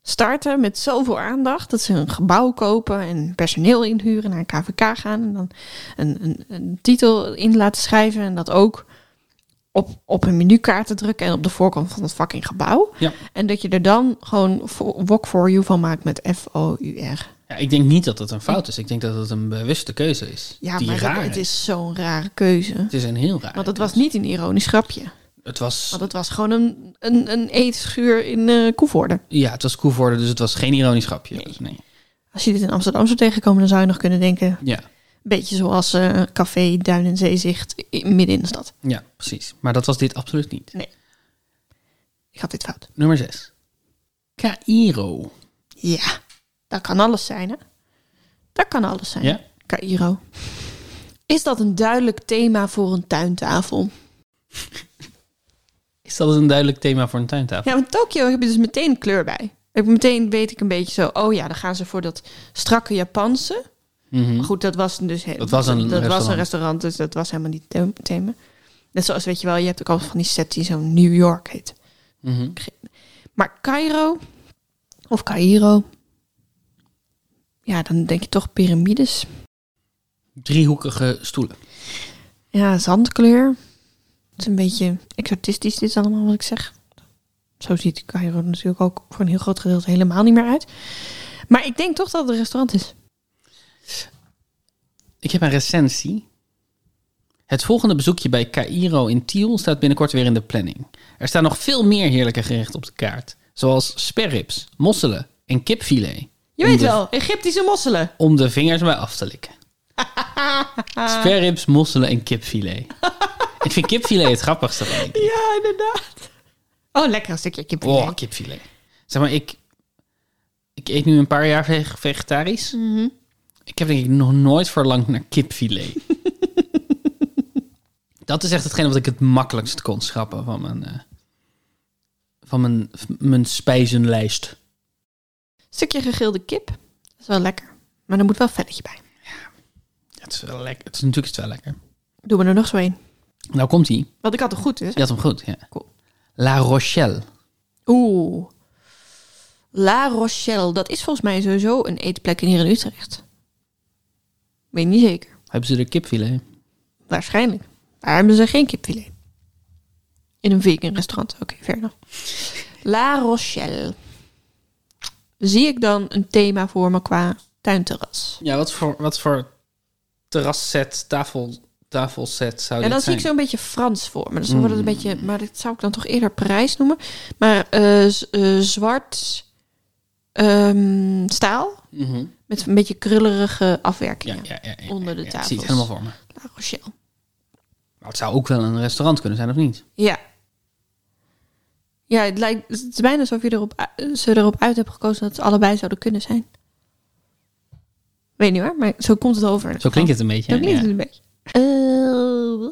Speaker 1: starten met zoveel aandacht. Dat ze een gebouw kopen en personeel inhuren, naar een KVK gaan. En dan een, een, een titel in laten schrijven. En dat ook op, op een menukaarten drukken en op de voorkant van het fucking gebouw.
Speaker 2: Ja.
Speaker 1: En dat je er dan gewoon fo- walk for you van maakt met F-O-U-R.
Speaker 2: Ja, ik denk niet dat dat een fout is. Ik denk dat het een bewuste keuze is.
Speaker 1: Ja,
Speaker 2: die
Speaker 1: maar dat-
Speaker 2: raar
Speaker 1: het is zo'n rare keuze.
Speaker 2: Het is een heel raar.
Speaker 1: Want het was niet een ironisch grapje.
Speaker 2: Het was,
Speaker 1: Want het was gewoon een, een, een eetschuur in eh Koevoorde.
Speaker 2: ja, het was koevoorde, dus het was geen ironisch grapje.
Speaker 1: Nee.
Speaker 2: Dus nee.
Speaker 1: Als je dit in Amsterdam zou tegenkomen, dan zou je nog kunnen denken... een
Speaker 2: Ja,
Speaker 1: beetje zoals eh, café Duin en Zeezicht in, midden in de stad.
Speaker 2: ja, precies. Maar dat was dit absoluut niet.
Speaker 1: Ik had dit fout.
Speaker 2: Nummer 6. Cairo.
Speaker 1: Ja, dat kan alles zijn, hè? Dat kan alles zijn.
Speaker 2: Ja.
Speaker 1: Cairo. Is dat een duidelijk thema voor een tuintafel?
Speaker 2: Is dat een duidelijk thema voor een tuintafel?
Speaker 1: Ja, want Tokio heb je dus meteen kleur bij. Heb ik meteen weet ik een beetje zo, oh ja, dan gaan ze voor dat strakke Japanse.
Speaker 2: Mhm.
Speaker 1: Maar goed, dat was dus he-
Speaker 2: Dat was
Speaker 1: dat
Speaker 2: een
Speaker 1: was een
Speaker 2: restaurant.
Speaker 1: restaurant, dus dat was helemaal niet the- thema. Net zoals weet je wel, je hebt ook al van die set die zo New York heet.
Speaker 2: Mhm.
Speaker 1: Maar Cairo of Cairo, ja, dan denk je toch piramides.
Speaker 2: Driehoekige stoelen.
Speaker 1: Ja, zandkleur. Het is een beetje exotistisch dit allemaal wat ik zeg. Zo ziet Cairo natuurlijk ook voor een heel groot gedeelte helemaal niet meer uit. Maar ik denk toch dat het een restaurant is.
Speaker 2: Ik heb een recensie. Het volgende bezoekje bij Cairo in Tiel staat binnenkort weer in de planning. Er staan nog veel meer heerlijke gerechten op de kaart. Zoals sperrips, mosselen en kipfilet.
Speaker 1: Je weet wel, Egyptische mosselen.
Speaker 2: Om de vingers bij af te likken. Sperrips, mosselen en kipfilet. Ik vind kipfilet het grappigste. van ik.
Speaker 1: Ja, inderdaad. Oh, lekker een stukje kipfilet.
Speaker 2: Oh, kipfilet. Zeg maar, ik, ik eet nu een paar jaar veg- vegetarisch.
Speaker 1: Mhm.
Speaker 2: Ik heb denk ik nog nooit verlangd naar kipfilet. dat is echt hetgeen wat ik het makkelijkst kon schrappen van mijn, eh, van mijn, v- mijn spijzenlijst.
Speaker 1: Stukje gegrilde kip. Dat is wel lekker. Maar er moet wel een velletje bij.
Speaker 2: Het is wel lekker. Het is natuurlijk is het wel lekker.
Speaker 1: Doe me er nog zo een.
Speaker 2: Nou komt hij.
Speaker 1: Want ik had het goed, dus.
Speaker 2: Je had hem goed. Ja.
Speaker 1: Cool.
Speaker 2: La Rochelle.
Speaker 1: Oeh. La Rochelle. Dat is volgens mij sowieso een eetplek in hier in Utrecht. Weet niet zeker.
Speaker 2: Hebben ze er kipfilet?
Speaker 1: Waarschijnlijk. Daar hebben ze geen kipfilet. In een vegan restaurant. Oké, verder. La Rochelle. Zie ik dan een thema voor me qua tuinterras?
Speaker 2: Ja, wat voor, wat voor terrasset, tafel, tafelset zou
Speaker 1: En dan
Speaker 2: Oh, dit
Speaker 1: zie
Speaker 2: zijn? Hmm.
Speaker 1: ik zo'n beetje Frans voor me. Dus dan wordt het een beetje, maar dat zou ik dan toch eerder Parijs noemen. Maar eh, z- eh, zwart ehm, staal
Speaker 2: Mhm.
Speaker 1: met een beetje krullerige
Speaker 2: ja,
Speaker 1: afwerkingen.
Speaker 2: ja, ja, ja,
Speaker 1: Onder de
Speaker 2: ja, Ik zie
Speaker 1: tafels.
Speaker 2: het helemaal voor me.
Speaker 1: La Rochelle.
Speaker 2: Maar het zou ook wel een restaurant kunnen zijn, of niet?
Speaker 1: Ja. Ja, het lijkt het is bijna alsof je erop, u- ze erop uit hebt gekozen dat ze allebei zouden kunnen zijn. Weet niet waar, maar zo komt het over.
Speaker 2: Zo klinkt het een beetje.
Speaker 1: Zo klinkt
Speaker 2: ja.
Speaker 1: het een beetje.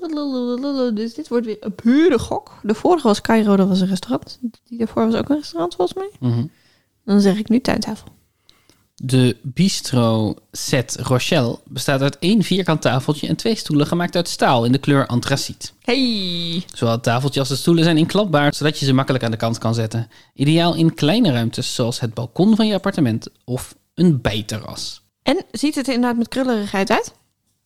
Speaker 1: Eh, dus dit wordt weer een pure gok. De vorige was Cairo, dat was een restaurant. Die daarvoor was ook een restaurant volgens mij.
Speaker 2: Mhm.
Speaker 1: Dan zeg ik nu tuintafel.
Speaker 2: De bistro set Rochelle bestaat uit één vierkant tafeltje en twee stoelen gemaakt uit staal in de kleur antraciet.
Speaker 1: Hey!
Speaker 2: Zowel het tafeltje als de stoelen zijn inklapbaar, zodat je ze makkelijk aan de kant kan zetten. Ideaal in kleine ruimtes, zoals het balkon van je appartement of een bijterras.
Speaker 1: En ziet het er inderdaad met krullerigheid uit?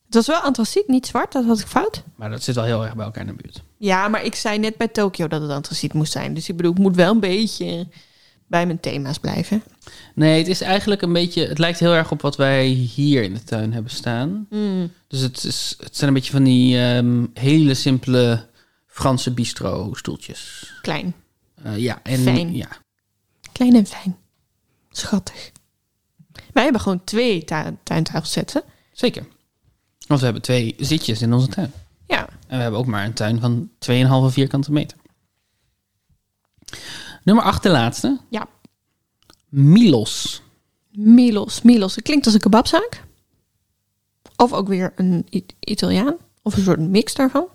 Speaker 1: Het was wel antraciet, niet zwart. Dat had ik fout.
Speaker 2: Maar dat zit wel heel erg bij elkaar in de buurt.
Speaker 1: Ja, maar ik zei net bij Tokio dat het antraciet moest zijn. Dus ik bedoel, ik moet wel een beetje bij mijn thema's blijven.
Speaker 2: Nee, het is eigenlijk een beetje. Het lijkt heel erg op wat wij hier in de tuin hebben staan.
Speaker 1: Mm.
Speaker 2: Dus het, is, het zijn een beetje van die ehm, hele simpele Franse bistro stoeltjes.
Speaker 1: Klein.
Speaker 2: Eh, ja, en
Speaker 1: Fijn.
Speaker 2: ja.
Speaker 1: Klein en fijn. Schattig. Wij hebben gewoon twee tu tuintafels zetten.
Speaker 2: Zeker. Want we hebben twee zitjes in onze tuin.
Speaker 1: Ja.
Speaker 2: En we hebben ook maar een tuin van 2,5 vierkante meter. Nummer 8, de laatste.
Speaker 1: Ja.
Speaker 2: Milos.
Speaker 1: Milos. Milos. Het klinkt als een kebabzaak. Of ook weer een I- Italiaan. Of een soort mix daarvan.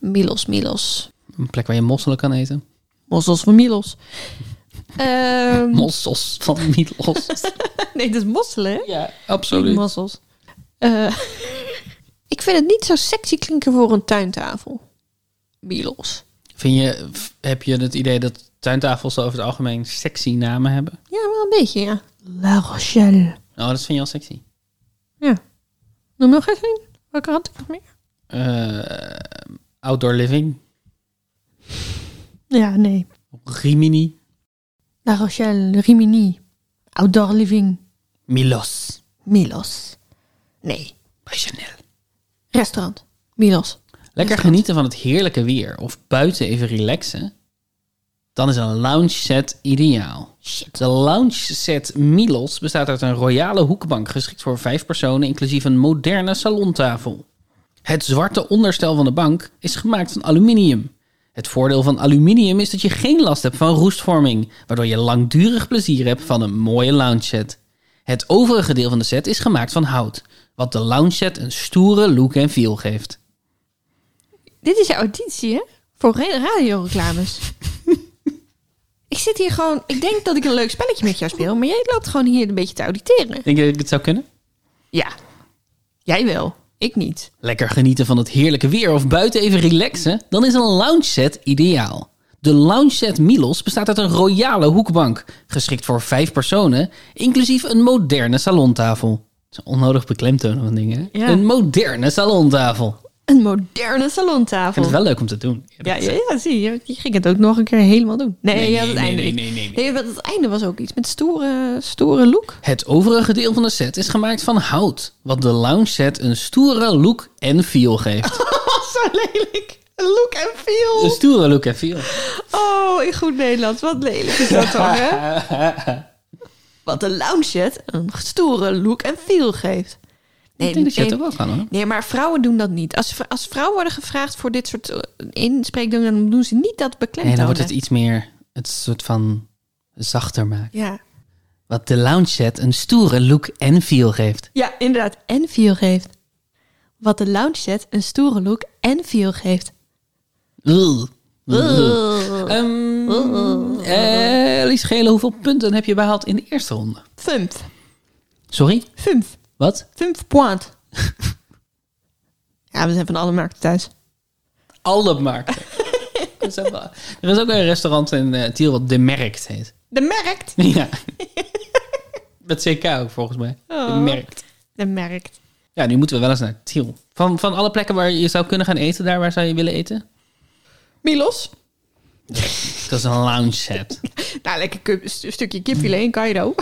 Speaker 1: Milos, Milos.
Speaker 2: Een plek waar je mosselen kan eten.
Speaker 1: Mossels van Milos. Ehm,
Speaker 2: Mossels van Milos.
Speaker 1: nee, dat is mosselen, hè?
Speaker 2: ja,
Speaker 1: Niet
Speaker 2: absoluut.
Speaker 1: mossels. Eh, ik vind het niet zo sexy klinken voor een tuintafel. Milos.
Speaker 2: Vind je, f- heb je het idee dat tuintafels over het algemeen sexy namen hebben?
Speaker 1: Ja, wel een beetje, ja. La Rochelle.
Speaker 2: Oh, dat vind je al sexy.
Speaker 1: Ja. Noem nog eens een. Welke had ik nog meer?
Speaker 2: Eh, outdoor living.
Speaker 1: Ja, nee.
Speaker 2: Rimini.
Speaker 1: La Rochelle, Rimini. Outdoor living.
Speaker 2: Milos.
Speaker 1: Milos. Nee.
Speaker 2: Bij Chanel.
Speaker 1: Restaurant. Milos.
Speaker 2: Lekker genieten van het heerlijke weer of buiten even relaxen. Dan is een lounge set ideaal. De lounge set Milos bestaat uit een royale hoekbank geschikt voor vijf personen, inclusief een moderne salontafel. Het zwarte onderstel van de bank is gemaakt van aluminium. Het voordeel van aluminium is dat je geen last hebt van roestvorming, waardoor je langdurig plezier hebt van een mooie lounge set. Het overige deel van de set is gemaakt van hout, wat de lounge set een stoere look en feel geeft.
Speaker 1: Dit is je auditie, hè? Voor re- radioreclames. ik zit hier gewoon... Ik denk dat ik een leuk spelletje met jou speel, maar jij loopt gewoon hier een beetje te auditeren.
Speaker 2: Denk je dat ik het zou kunnen?
Speaker 1: Ja. Jij wel. Ik niet.
Speaker 2: Lekker genieten van het heerlijke weer of buiten even relaxen? Dan is een lounge set ideaal. De lounge set Milos bestaat uit een royale hoekbank, geschikt voor vijf personen, inclusief een moderne salontafel. Het is een onnodig beklemtonen van dingen. hè?
Speaker 1: Ja.
Speaker 2: Een moderne salontafel. Ik
Speaker 1: Een moderne
Speaker 2: vind
Speaker 1: salontafel.
Speaker 2: het wel leuk om te doen.
Speaker 1: Ja, ja, ja, zie je. Je ging het ook nog een keer helemaal doen. Nee,
Speaker 2: Nee,
Speaker 1: ja,
Speaker 2: nee,
Speaker 1: het
Speaker 2: nee,
Speaker 1: einde
Speaker 2: nee,
Speaker 1: niet.
Speaker 2: nee, nee, nee.
Speaker 1: want het einde was ook iets met stoere, stoere look.
Speaker 2: Het overige deel van de set is gemaakt van hout, wat de lounge set een stoere look en feel geeft.
Speaker 1: Oh, Zo lelijk. Look en feel.
Speaker 2: Een stoere look en feel.
Speaker 1: Oh, in goed Nederlands. Wat lelijk is dat dan, hè? Wat een lounge set een stoere look en feel geeft. Nee,
Speaker 2: ik denk dat je het ook
Speaker 1: nee,
Speaker 2: wel kan hoor.
Speaker 1: nee, maar vrouwen doen dat niet. Als, vr- als vrouwen worden gevraagd voor dit soort eh, inspreekdingen, dan doen ze niet dat beklemtonen.
Speaker 2: En dan wordt het iets meer, het soort van zachter maken.
Speaker 1: Ja.
Speaker 2: Wat de lounge set een stoere look en feel geeft.
Speaker 1: ja, inderdaad. En feel geeft. Wat de lounge set een stoere look en feel geeft.
Speaker 2: Ugh. Ugh.
Speaker 1: Ugh.
Speaker 2: Ehm, eh, Lies Gele, hoeveel punten heb je behaald in de eerste ronde?
Speaker 1: Fünf.
Speaker 2: Sorry,
Speaker 1: Fünf.
Speaker 2: wat?
Speaker 1: Fünf point. ja, we zijn van alle markten thuis.
Speaker 2: Alle markten. Er is ook wel- er is ook een restaurant in eh Tiel wat De Merkt heet.
Speaker 1: De merkt.
Speaker 2: Ja. Met CK ook volgens mij.
Speaker 1: Oh.
Speaker 2: De Merkt.
Speaker 1: De merkt.
Speaker 2: Ja, nu moeten we wel eens naar Tiel. Van, van alle plekken waar je zou kunnen gaan eten, daar waar zou je willen eten?
Speaker 1: Milos.
Speaker 2: Dat is een lounge set.
Speaker 1: Nou, lekker kip- st- stukje kipfilet in Cairo.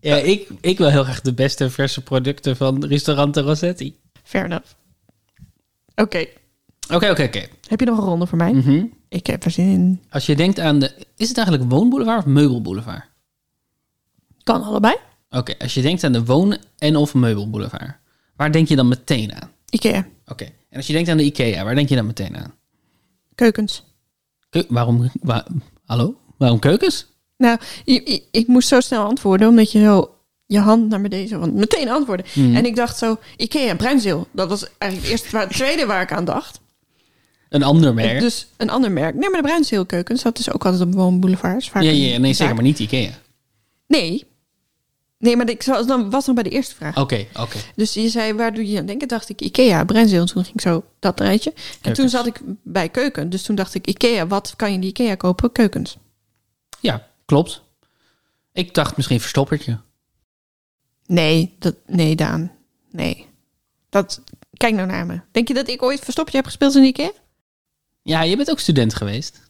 Speaker 2: Ja, ik, ik wil heel graag de beste verse producten van restaurant Rossetti.
Speaker 1: Fair enough. Oké,
Speaker 2: Oké, oké, oké.
Speaker 1: heb je nog een ronde voor mij?
Speaker 2: Mhm.
Speaker 1: Ik heb er zin in.
Speaker 2: Als je denkt aan de... Is het eigenlijk woonboulevard of meubelboulevard?
Speaker 1: Kan allebei.
Speaker 2: Oké, als je denkt aan de woon- en of meubelboulevard, waar denk je dan meteen aan?
Speaker 1: Ikea.
Speaker 2: Oké, en als je denkt aan de IKEA, waar denk je dan meteen aan?
Speaker 1: Keukens.
Speaker 2: Keu- waarom... wa- Hallo? Waarom keukens?
Speaker 1: Nou, i- i- ik moest zo snel antwoorden, omdat je zo je hand naar beneden zo van meteen antwoorden.
Speaker 2: Mhm.
Speaker 1: En ik dacht zo, Ikea, bruinzeel. Dat was eigenlijk het eerste, waar- het tweede waar ik aan dacht.
Speaker 2: Een ander merk?
Speaker 1: Dus een ander merk. Nee, maar de bruinzeelkeukens, dat is ook altijd op woonboulevards.
Speaker 2: ja,
Speaker 1: vaak
Speaker 2: ja,
Speaker 1: een
Speaker 2: ja, nee,
Speaker 1: zaak.
Speaker 2: zeker, maar niet IKEA.
Speaker 1: Nee. Nee, maar ik was dan was nog bij de eerste vraag.
Speaker 2: Oké, oké.
Speaker 1: Dus je zei, waar doe je aan denken? Dacht ik Ikea, Brenzeel. Toen ging ik zo dat rijtje. En toen
Speaker 2: Keukens.
Speaker 1: zat ik bij keuken. Dus toen dacht ik, Ikea, wat kan je in de Ikea kopen? Keukens.
Speaker 2: Ja, klopt. Ik dacht misschien verstoppertje.
Speaker 1: Nee, dat, nee Daan. Nee. Dat, kijk nou naar me. Denk je dat ik ooit verstoppertje heb gespeeld in de Ikea?
Speaker 2: Ja, je bent ook student geweest.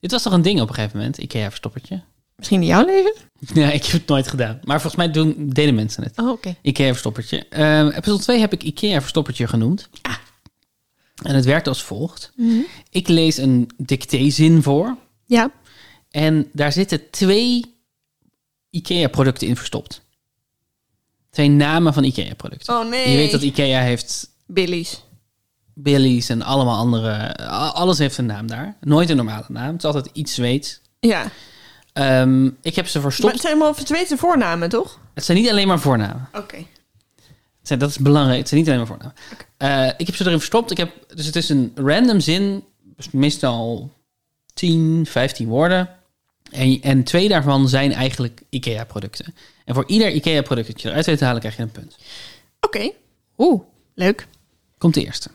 Speaker 2: Dit was toch een ding op een gegeven moment, IKEA-verstoppertje?
Speaker 1: Misschien in jouw leven?
Speaker 2: Ja, ik heb het nooit gedaan. Maar volgens mij doen, deden mensen het.
Speaker 1: Oh, oké.
Speaker 2: IKEA-verstoppertje. Ehm episode 2 heb ik IKEA-verstoppertje genoemd.
Speaker 1: Ah.
Speaker 2: En het werkt als volgt.
Speaker 1: Mhm.
Speaker 2: Ik lees een dictézin voor.
Speaker 1: Ja.
Speaker 2: En daar zitten twee IKEA-producten in verstopt. Twee namen van IKEA-producten.
Speaker 1: Oh nee.
Speaker 2: Je weet dat IKEA heeft
Speaker 1: Billy's.
Speaker 2: Billy's en allemaal andere... a- Alles heeft een naam daar. Nooit een normale naam. Het is altijd iets Zweeds.
Speaker 1: Ja.
Speaker 2: Ehm, ik heb ze
Speaker 1: Maar
Speaker 2: verstopt.
Speaker 1: het zijn allemaal Zweedse voornamen, toch?
Speaker 2: Het zijn niet alleen maar voornamen.
Speaker 1: Oké.
Speaker 2: Het zijn- Dat is belangrijk. Het zijn niet alleen maar voornamen. Eh, ik heb ze erin verstopt. Ik heb, dus het is een random zin. dus meestal 10, 15 woorden. En, en twee daarvan zijn eigenlijk IKEA-producten. En voor ieder IKEA-product dat je eruit weet te halen, krijg je een punt.
Speaker 1: Oké. Oeh, leuk.
Speaker 2: Komt de eerste.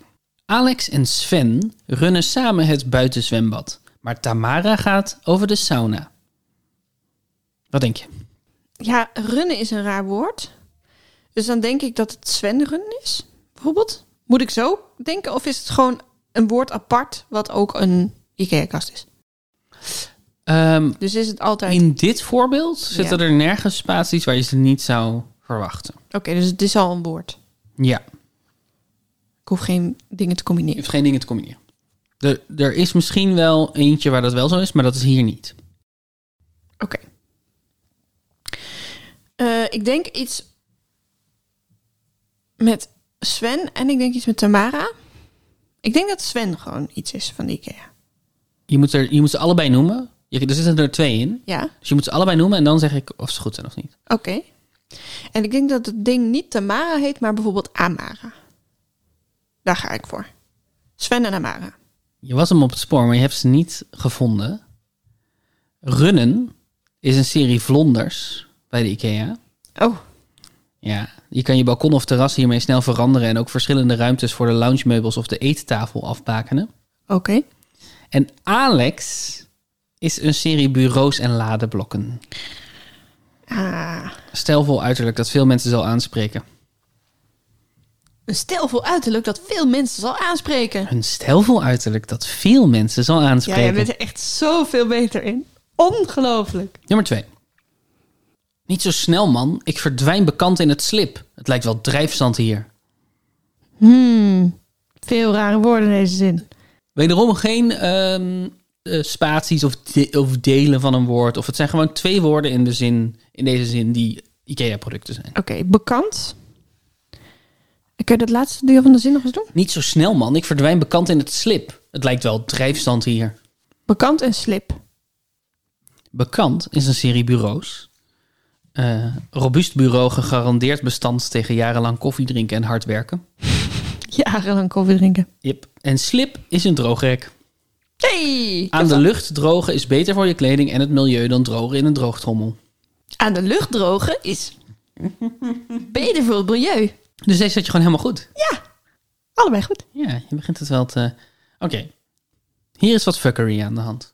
Speaker 2: Alex en Sven runnen samen het buitenzwembad. Maar Tamara gaat over de sauna. Wat denk je?
Speaker 1: Ja, runnen is een raar woord. Dus dan denk ik dat het Sven-runnen is, bijvoorbeeld. Moet ik zo denken? Of is het gewoon een woord apart wat ook een IKEA-kast is?
Speaker 2: Ehm,
Speaker 1: Dus is het altijd...
Speaker 2: in dit voorbeeld zitten
Speaker 1: Ja.
Speaker 2: er nergens spaties waar je ze niet zou verwachten.
Speaker 1: Oké, dus het is al een woord.
Speaker 2: Ja,
Speaker 1: Ik hoef geen dingen te
Speaker 2: je
Speaker 1: combineren.
Speaker 2: hoeft geen dingen te combineren. Er, er is misschien wel eentje waar dat wel zo is, maar dat is hier niet.
Speaker 1: Oké. Eh, ik denk iets met Sven en ik denk iets met Tamara. Ik denk dat Sven gewoon iets is van die IKEA.
Speaker 2: Je moet, er, je moet ze allebei noemen. Je, er zitten er twee in.
Speaker 1: Ja,
Speaker 2: Dus je moet ze allebei noemen en dan zeg ik of ze goed zijn of niet.
Speaker 1: oké. En ik denk dat het ding niet Tamara heet, maar bijvoorbeeld Amara. Daar ga ik voor. Sven en Amara.
Speaker 2: Je was hem op het spoor, maar je hebt ze niet gevonden. Runnen is een serie vlonders bij de IKEA.
Speaker 1: Oh,
Speaker 2: Ja, je kan je balkon of terras hiermee snel veranderen en ook verschillende ruimtes voor de loungemeubels of de eettafel afbakenen.
Speaker 1: oké.
Speaker 2: En Alex is een serie bureaus en ladeblokken.
Speaker 1: Ah,
Speaker 2: Stijlvol uiterlijk dat veel mensen zal aanspreken.
Speaker 1: een stelvol uiterlijk dat veel mensen zal aanspreken.
Speaker 2: Een stijlvol uiterlijk dat veel mensen zal
Speaker 1: Ja,
Speaker 2: aanspreken.
Speaker 1: jij bent er echt zoveel beter in. Ongelooflijk.
Speaker 2: Nummer 2. Niet zo snel, man. Ik verdwijn bekant in het slip. Het lijkt wel drijfzand hier.
Speaker 1: Hmm, veel rare woorden in deze zin.
Speaker 2: Wederom geen ehm, eh, spaties of, de- of delen van een woord. Of het zijn gewoon twee woorden in, de zin, in deze zin die IKEA-producten zijn.
Speaker 1: Oké, bekant. Kun je dat laatste deel van de zin nog eens doen?
Speaker 2: Niet zo snel, man. Ik verdwijn bekant in het slip. Het lijkt wel drijfstand hier.
Speaker 1: Bekant en slip.
Speaker 2: Bekant is een serie bureaus. Eh, robuust bureau gegarandeerd bestand tegen jarenlang koffiedrinken en hard werken.
Speaker 1: Jarenlang koffie drinken.
Speaker 2: Yep. En slip is een droogrek.
Speaker 1: Hey!
Speaker 2: Aan de lucht drogen is beter voor je kleding en het milieu dan drogen in een droogtrommel.
Speaker 1: Aan de lucht drogen is beter voor het milieu.
Speaker 2: Dus deze zet je gewoon helemaal goed.
Speaker 1: Ja, allebei goed.
Speaker 2: Ja, je begint het wel te... Oké, hier is wat fuckery aan de hand.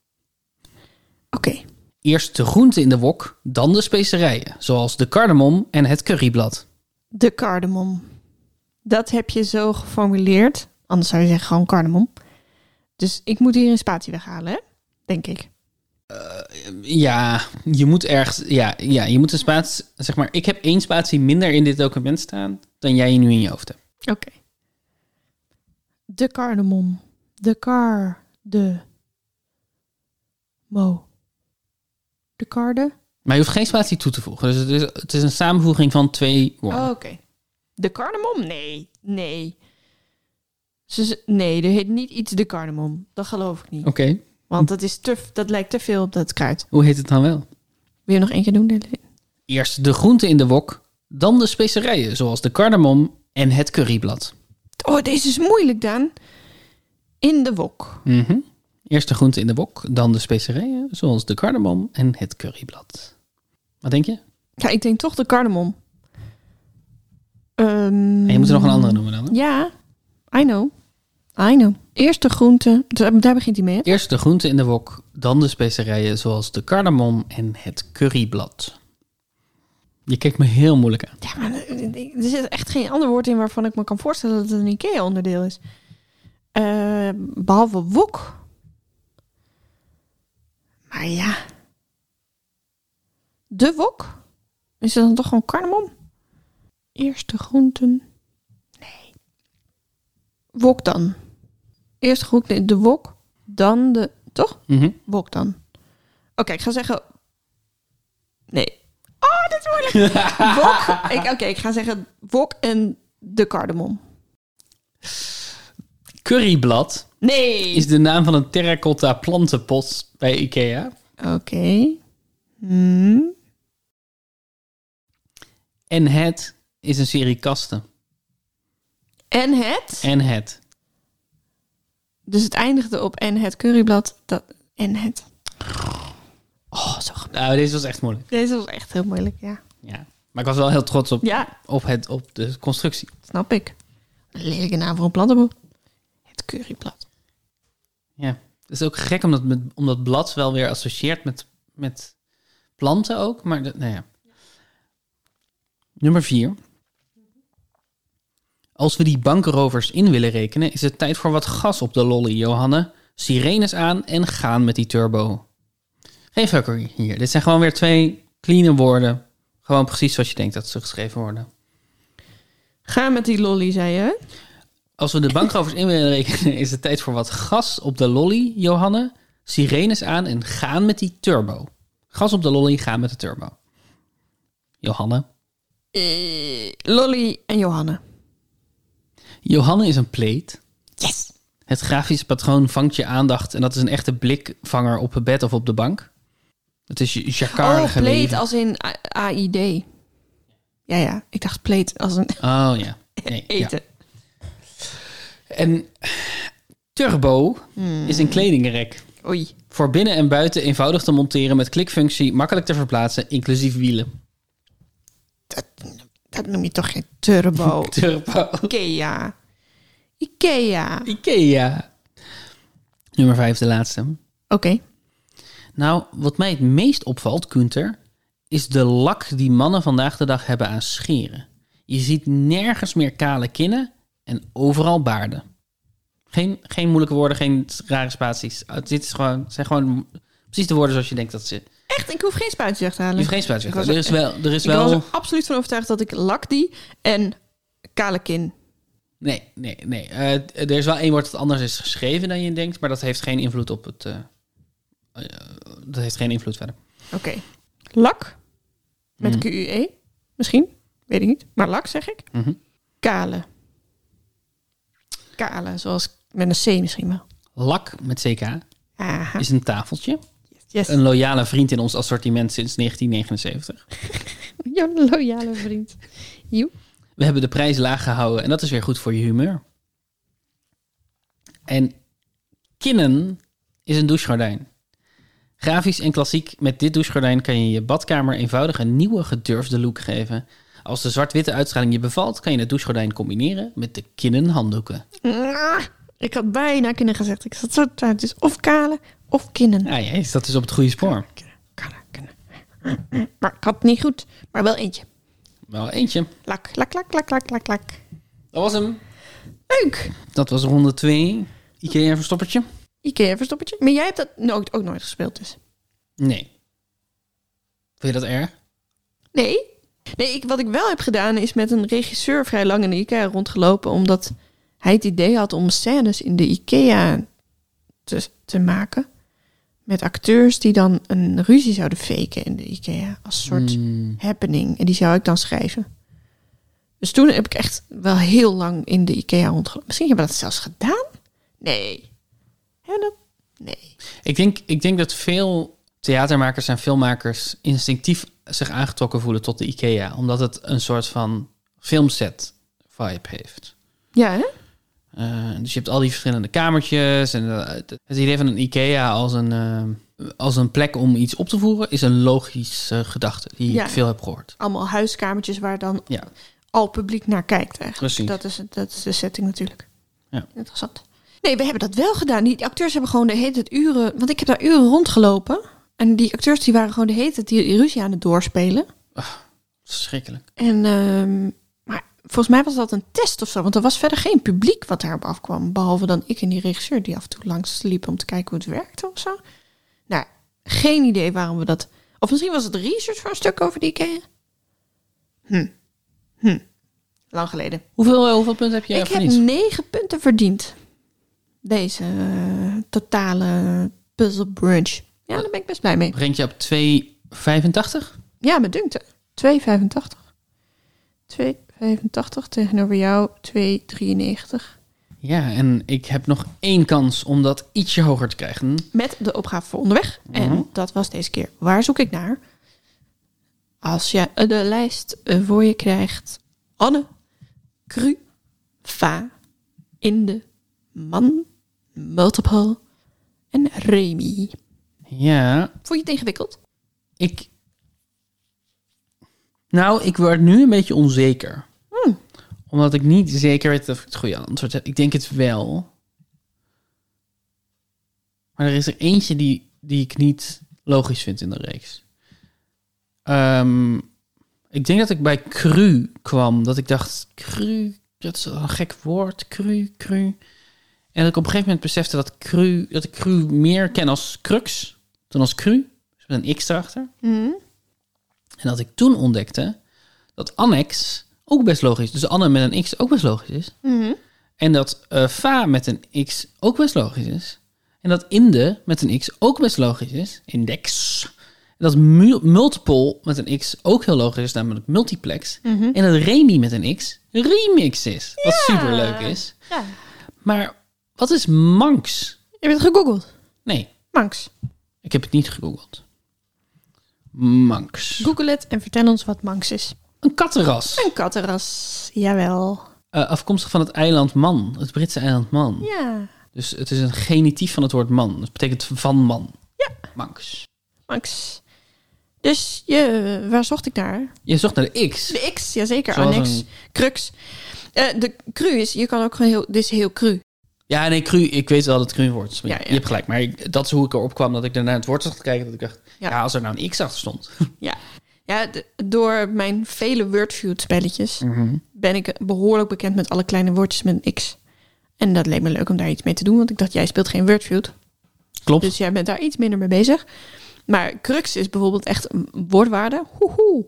Speaker 1: Oké,
Speaker 2: Eerst de groente in de wok, dan de specerijen, zoals de cardamom en het curryblad.
Speaker 1: de cardamom. Dat heb je zo geformuleerd. Anders zou je zeggen gewoon cardamom. Dus ik moet hier een spatie weghalen, hè? denk ik.
Speaker 2: Ja, je moet ergens... Ja, ja, je moet een spatie... Zeg maar, ik heb één spatie minder in dit document staan dan jij nu in je hoofd hebt.
Speaker 1: Oké. De cardamom. De car. De. Mo. De karde.
Speaker 2: Maar je hoeft geen spatie toe te voegen. Dus het is, het is een samenvoeging van twee woorden.
Speaker 1: Oh, oké. De cardamom? Nee. Nee. Ze, ze- nee, er heet niet iets de cardamom. Dat geloof ik niet.
Speaker 2: Oké,
Speaker 1: Want dat, is te, dat lijkt te veel op dat kruid.
Speaker 2: hoe heet het dan wel?
Speaker 1: Wil je nog één keer doen, Dylan?
Speaker 2: Eerst de groenten in de wok, dan de specerijen, zoals de cardamom en het curryblad.
Speaker 1: Oh, deze is moeilijk, Daan. In de wok.
Speaker 2: Mhm. Eerst de groenten in de wok, dan de specerijen, zoals de cardamom en het curryblad. Wat denk je?
Speaker 1: Ja, ik denk toch de cardamom. Ehm,
Speaker 2: En je moet er nog een andere noemen dan. Hè?
Speaker 1: Ja, I know. I know. Eerst de groente. Daar daar begint hij mee, hè?
Speaker 2: Eerst de groenten in de wok, dan de specerijen, zoals de cardamom en het curryblad. Je kijkt me heel moeilijk aan.
Speaker 1: Ja, maar er zit echt geen ander woord in waarvan ik me kan voorstellen dat het een IKEA-onderdeel is. Eh, behalve wok. Maar ja. De wok? Is dat dan toch gewoon cardamom? Eerst de groenten. Nee. Wok dan. Eerst de groenten, de wok. Dan de... Toch?
Speaker 2: Mhm.
Speaker 1: Wok dan. Oké, ik ga zeggen... Nee. Oh, dit is moeilijk. Wok. Ik- Oké, ik ga zeggen wok en de cardamom.
Speaker 2: Curryblad
Speaker 1: Nee.
Speaker 2: is de naam van een terracotta plantenpot bij Ikea.
Speaker 1: Oké. Hmm.
Speaker 2: En het is een serie kasten.
Speaker 1: En het.
Speaker 2: En het.
Speaker 1: Dus het eindigde op en het curryblad. Dat, en het. Oh, zo gemeen.
Speaker 2: Nou, deze was echt moeilijk.
Speaker 1: Deze was echt heel moeilijk, ja.
Speaker 2: Ja, maar ik was wel heel trots op,
Speaker 1: Ja,
Speaker 2: op, het, op de constructie.
Speaker 1: snap ik. Een Lelijke naam voor een plantenboek. Het curryblad.
Speaker 2: Ja. Het is ook gek omdat, met, omdat blad wel weer associeert met, met planten ook. Maar dat, nou ja. Nummer vier. Als we die bankrovers in willen rekenen, is het tijd voor wat gas op de lolly, Johanne. Sirenes aan en gaan met die turbo. Geen fuckery hier. Dit zijn gewoon weer twee clean woorden. Gewoon precies zoals je denkt dat ze geschreven worden.
Speaker 1: Ga met die lolly, zei je.
Speaker 2: Als we de bankrovers in willen rekenen, is het tijd voor wat gas op de lolly, Johanne. Sirenes aan en gaan met die turbo. Gas op de lolly, gaan met de turbo. Johanne.
Speaker 1: Eh, lolly en Johanne.
Speaker 2: Johanne is een pleet.
Speaker 1: Yes!
Speaker 2: Het grafische patroon vangt je aandacht en dat is een echte blikvanger op het bed of op de bank. Het is j- jacquard
Speaker 1: Oh, pleet
Speaker 2: geweven.
Speaker 1: als in A- AID. Ja, ja. Ik dacht pleet als een
Speaker 2: Oh ja. Nee, ja.
Speaker 1: eten.
Speaker 2: En turbo
Speaker 1: Hmm.
Speaker 2: is een kledingrek.
Speaker 1: Oei.
Speaker 2: Voor binnen en buiten eenvoudig te monteren met klikfunctie, makkelijk te verplaatsen, inclusief wielen.
Speaker 1: Dat, dat noem je toch geen turbo.
Speaker 2: Turbo.
Speaker 1: Ikea. Ikea. Oké.
Speaker 2: Ikea. Nummer vijf, de laatste. Nou, wat mij het meest opvalt, Kunter, is de lak die mannen vandaag de dag hebben aan scheren. Je ziet nergens meer kale kinnen en overal baarden. Geen, geen moeilijke woorden, geen rare spaties. Uh, Dit is gewoon, zijn gewoon precies de woorden zoals je denkt dat ze.
Speaker 1: Echt, ik hoef geen spuitje weg te
Speaker 2: Je
Speaker 1: halen.
Speaker 2: hoeft geen spaties
Speaker 1: Ik
Speaker 2: weg te
Speaker 1: was-
Speaker 2: Er is wel. Er is
Speaker 1: Ik was
Speaker 2: wel
Speaker 1: er absoluut van overtuigd dat ik lak die en kale kin.
Speaker 2: nee, nee, nee. Eh, er is wel één woord dat anders is geschreven dan je denkt, maar dat heeft geen invloed op het. eh, eh, dat heeft geen invloed verder.
Speaker 1: Oké. Lak met QUE misschien, weet ik niet. Maar lak zeg ik.
Speaker 2: Mhm.
Speaker 1: Kale. Kale, zoals met een C misschien wel.
Speaker 2: Lak met CK
Speaker 1: Aha.
Speaker 2: is een tafeltje.
Speaker 1: Yes.
Speaker 2: Een loyale vriend in ons assortiment sinds 1979.
Speaker 1: Jouw loyale vriend. Joe.
Speaker 2: We hebben de prijs laag gehouden en dat is weer goed voor je humeur. En kinnen is een douchegordijn. Grafisch en klassiek, met dit douchegordijn kan je je badkamer eenvoudig een nieuwe gedurfde look geven. Als de zwart-witte uitstraling je bevalt, kan je het douchegordijn combineren met de kinnen handdoeken.
Speaker 1: Ah, Ik had bijna kinderen gezegd. Ik zat zo thuis. Dus of kale of kinnen.
Speaker 2: Ah, jezus, dat is op het goede spoor.
Speaker 1: Kale, kinnen. Maar ik had het niet goed. Maar wel eentje.
Speaker 2: Wel eentje.
Speaker 1: Lak, lak, lak, lak, lak, lak, lak.
Speaker 2: Dat was hem.
Speaker 1: Leuk.
Speaker 2: Dat was ronde 2. Ikea verstoppertje?
Speaker 1: Ikea verstoppertje. Maar jij hebt dat nooit, ook nooit gespeeld dus.
Speaker 2: Nee. Vind je dat erg?
Speaker 1: Nee. Nee, ik, wat ik wel heb gedaan is met een regisseur vrij lang in de Ikea rondgelopen. Omdat hij het idee had om scènes in de Ikea te, te maken. Met acteurs die dan een ruzie zouden faken in de Ikea. Als soort
Speaker 2: Hmm.
Speaker 1: happening. En die zou ik dan schrijven. Dus toen heb ik echt wel heel lang in de Ikea rondgelopen. Misschien hebben we dat zelfs gedaan? Nee. Hebben we dat? Nee.
Speaker 2: Ik denk, ik denk dat veel theatermakers en filmmakers instinctief zich aangetrokken voelen tot de IKEA, omdat het een soort van filmset vibe heeft.
Speaker 1: Ja, hè?
Speaker 2: Eh, dus je hebt al die verschillende kamertjes en eh, het- het idee van een IKEA als een, eh, als een plek om iets op te voeren is een logische gedachte die
Speaker 1: Ja.
Speaker 2: ik veel heb gehoord.
Speaker 1: Allemaal huiskamertjes waar dan
Speaker 2: Ja.
Speaker 1: al publiek naar kijkt eigenlijk.
Speaker 2: Precies.
Speaker 1: Dat is, dat is de setting natuurlijk.
Speaker 2: Ja.
Speaker 1: Interessant. Nee, we hebben dat wel gedaan. Die acteurs hebben gewoon de hele tijd uren... Want ik heb daar uren rondgelopen. En die acteurs die waren gewoon de hele tijd die ruzie aan het doorspelen.
Speaker 2: Verschrikkelijk.
Speaker 1: En, ehm, maar volgens mij was dat een test of zo. Want er was verder geen publiek wat daarop afkwam. Behalve dan ik en die regisseur die af en toe langs liepen om te kijken hoe het werkte of zo. Nou, geen idee waarom we dat... Of misschien was het research voor een stuk over die IKEA. Hm. Hm. Lang geleden.
Speaker 2: Hoeveel, eh, hoeveel punten heb je
Speaker 1: ik heb
Speaker 2: verdiend?
Speaker 1: negen punten verdiend. Deze eh, totale puzzle brunch. Ja, daar ben ik best blij mee.
Speaker 2: Brengt je op 2,85?
Speaker 1: Ja, me dunkt het. 2,85. 2,85 tegenover jou 2,93.
Speaker 2: Ja, en ik heb nog één kans om dat ietsje hoger te krijgen.
Speaker 1: Met de opgave voor onderweg. En dat was deze keer. Waar zoek ik naar? Als je eh, de lijst eh, voor je krijgt. Anne Cru Va in de Man Multiple en Remy.
Speaker 2: Ja,
Speaker 1: Vond je het ingewikkeld?
Speaker 2: Ik. Nou, ik word nu een beetje onzeker.
Speaker 1: Hmm.
Speaker 2: Omdat ik niet zeker weet of ik het goede antwoord heb. Ik denk het wel. Maar er is er eentje die, die ik niet logisch vind in de reeks. Ehm, ik denk dat ik bij cru kwam. Dat ik dacht, cru, dat is wel een gek woord. Cru, cru. En dat ik op een gegeven moment besefte dat, cru, dat ik cru meer ken als crux dan als cru. Dus met een X erachter.
Speaker 1: Mhm.
Speaker 2: En dat ik toen ontdekte dat annex ook best logisch is. Dus Anne met een X ook best logisch is.
Speaker 1: Mhm.
Speaker 2: En dat eh, fa met een X ook best logisch is. En dat inde met een X ook best logisch is. Index. En dat mu- multiple met een X ook heel logisch is, namelijk multiplex.
Speaker 1: Mhm.
Speaker 2: En dat remi met een X remix is. Wat super leuk is.
Speaker 1: Ja.
Speaker 2: Maar wat is manx?
Speaker 1: Je bent gegoogeld.
Speaker 2: Nee,
Speaker 1: Manx,
Speaker 2: ik heb het niet gegoogeld. Manx.
Speaker 1: google het en vertel ons wat Manx is.
Speaker 2: Een kattenras.
Speaker 1: Een kattenras, jawel.
Speaker 2: Eh, afkomstig van het eiland Man, het Britse eiland Man.
Speaker 1: Ja,
Speaker 2: Dus het is een genitief van het woord man. Dat betekent van man. Ja. Manx.
Speaker 1: Manx. Dus je, waar zocht ik naar?
Speaker 2: Je zocht naar de X.
Speaker 1: De X, jazeker,
Speaker 2: Zoals
Speaker 1: annex,
Speaker 2: een-
Speaker 1: crux. Eh, de cru is, je kan ook gewoon heel, dit is heel cru.
Speaker 2: Ja, nee, cru. Ik weet wel dat het cru een woord is. Maar
Speaker 1: Ja, ja.
Speaker 2: Je hebt gelijk. Maar ik- dat is hoe ik erop kwam. Dat ik daarna het woord zag te kijken. Dat ik dacht, ja.
Speaker 1: Ja.
Speaker 2: als er nou een X achter stond.
Speaker 1: Ja, ja d- door mijn vele wordfeud spelletjes
Speaker 2: Mhm.
Speaker 1: ben ik behoorlijk bekend met alle kleine woordjes met een X. En dat leek me leuk om daar iets mee te doen, want ik dacht, jij speelt geen wordfeud.
Speaker 2: Klopt.
Speaker 1: Dus jij bent daar iets minder mee bezig. Maar crux is bijvoorbeeld echt een woordwaarde. Hoehoe.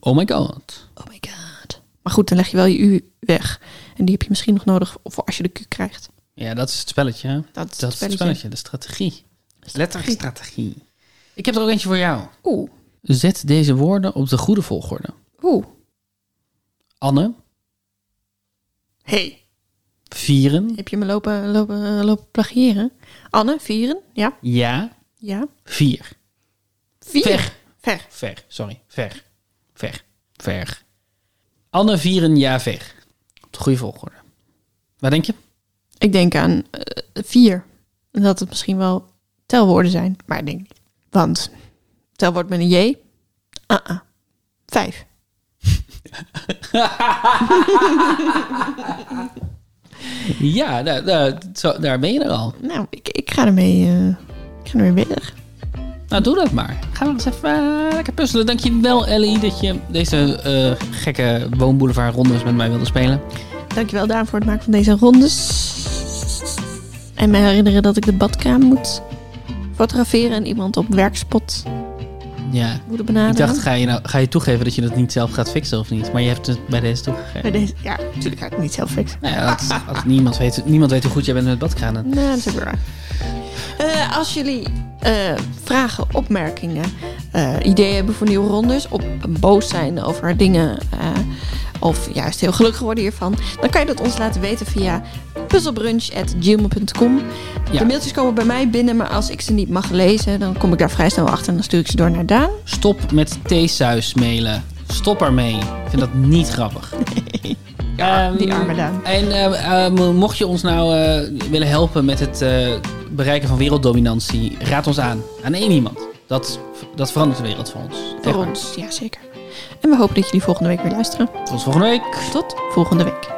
Speaker 2: Oh my god.
Speaker 1: Oh my god. Maar goed, dan leg je wel je U weg. En die heb je misschien nog nodig voor als je de Q krijgt.
Speaker 2: Ja, dat is het spelletje. hè?
Speaker 1: Dat is
Speaker 2: Dat
Speaker 1: het
Speaker 2: is het
Speaker 1: spelletje.
Speaker 2: spelletje. De strategie. Letterstrategie. Ik heb er ook eentje voor jou.
Speaker 1: Oeh,
Speaker 2: Zet deze woorden op de goede volgorde.
Speaker 1: oeh.
Speaker 2: Anne,
Speaker 1: Hey,
Speaker 2: vieren,
Speaker 1: heb je me lopen, lopen, lopen plagiëren? Anne, vieren? Ja,
Speaker 2: ja,
Speaker 1: ja.
Speaker 2: vier.
Speaker 1: Vier.
Speaker 2: Ver.
Speaker 1: Ver.
Speaker 2: Ver, sorry. Ver. Ver. Ver. Anne vieren ja ver. Op de goede volgorde. Waar denk je?
Speaker 1: Ik denk aan eh, vier. En Dat het misschien wel telwoorden zijn, maar ik denk niet. Want telwoord met een J? Ah, ah. Vijf.
Speaker 2: Ja, daar, daar, zo- daar ben je er al.
Speaker 1: Nou, ik, ik ga ermee, eh, ik ga ermee bezig.
Speaker 2: Nou, doe dat maar. Gaan we eens even eh, lekker puzzelen. Dankjewel, Ellie, dat je deze eh, gekke woonboulevard rondes met mij wilde spelen.
Speaker 1: Dankjewel Daan voor het maken van deze rondes. En mij herinneren dat ik de badkamer moet fotograferen en iemand op werkspot
Speaker 2: Ja.
Speaker 1: moeten
Speaker 2: Ik
Speaker 1: benaderen.
Speaker 2: dacht, ga je, nou, ga je toegeven dat je dat niet zelf gaat fixen of niet? Maar je hebt het bij deze toegegeven.
Speaker 1: Bij deze, ja, natuurlijk ga ik het niet zelf fixen.
Speaker 2: Nou ja, dat, dat- niemand, weet, niemand weet hoe goed jij bent met badkranen.
Speaker 1: Nou, dat is ook weer waar. Eh, als jullie eh, vragen, opmerkingen, eh, ideeën hebben voor nieuwe rondes... of boos zijn over dingen eh, of juist heel gelukkig worden hiervan... dan kan je dat ons laten weten via puzzelbrunch.gmail.com.
Speaker 2: Ja.
Speaker 1: De mailtjes komen bij mij binnen, maar als ik ze niet mag lezen... dan kom ik daar vrij snel achter en dan stuur ik ze door naar Daan.
Speaker 2: Stop met theesuis mailen. Stop ermee. Ik vind dat niet grappig. Ehm,
Speaker 1: die arme Daan.
Speaker 2: En eh, eh, mo- mocht je ons nou eh, willen helpen met het eh, bereiken van werelddominantie, raad ons aan. Aan één iemand. Dat, dat verandert de wereld voor ons.
Speaker 1: Voor
Speaker 2: Echt waar.
Speaker 1: ons, ja zeker. En we hopen dat jullie volgende week weer luisteren.
Speaker 2: Tot volgende week.
Speaker 1: Tot volgende week.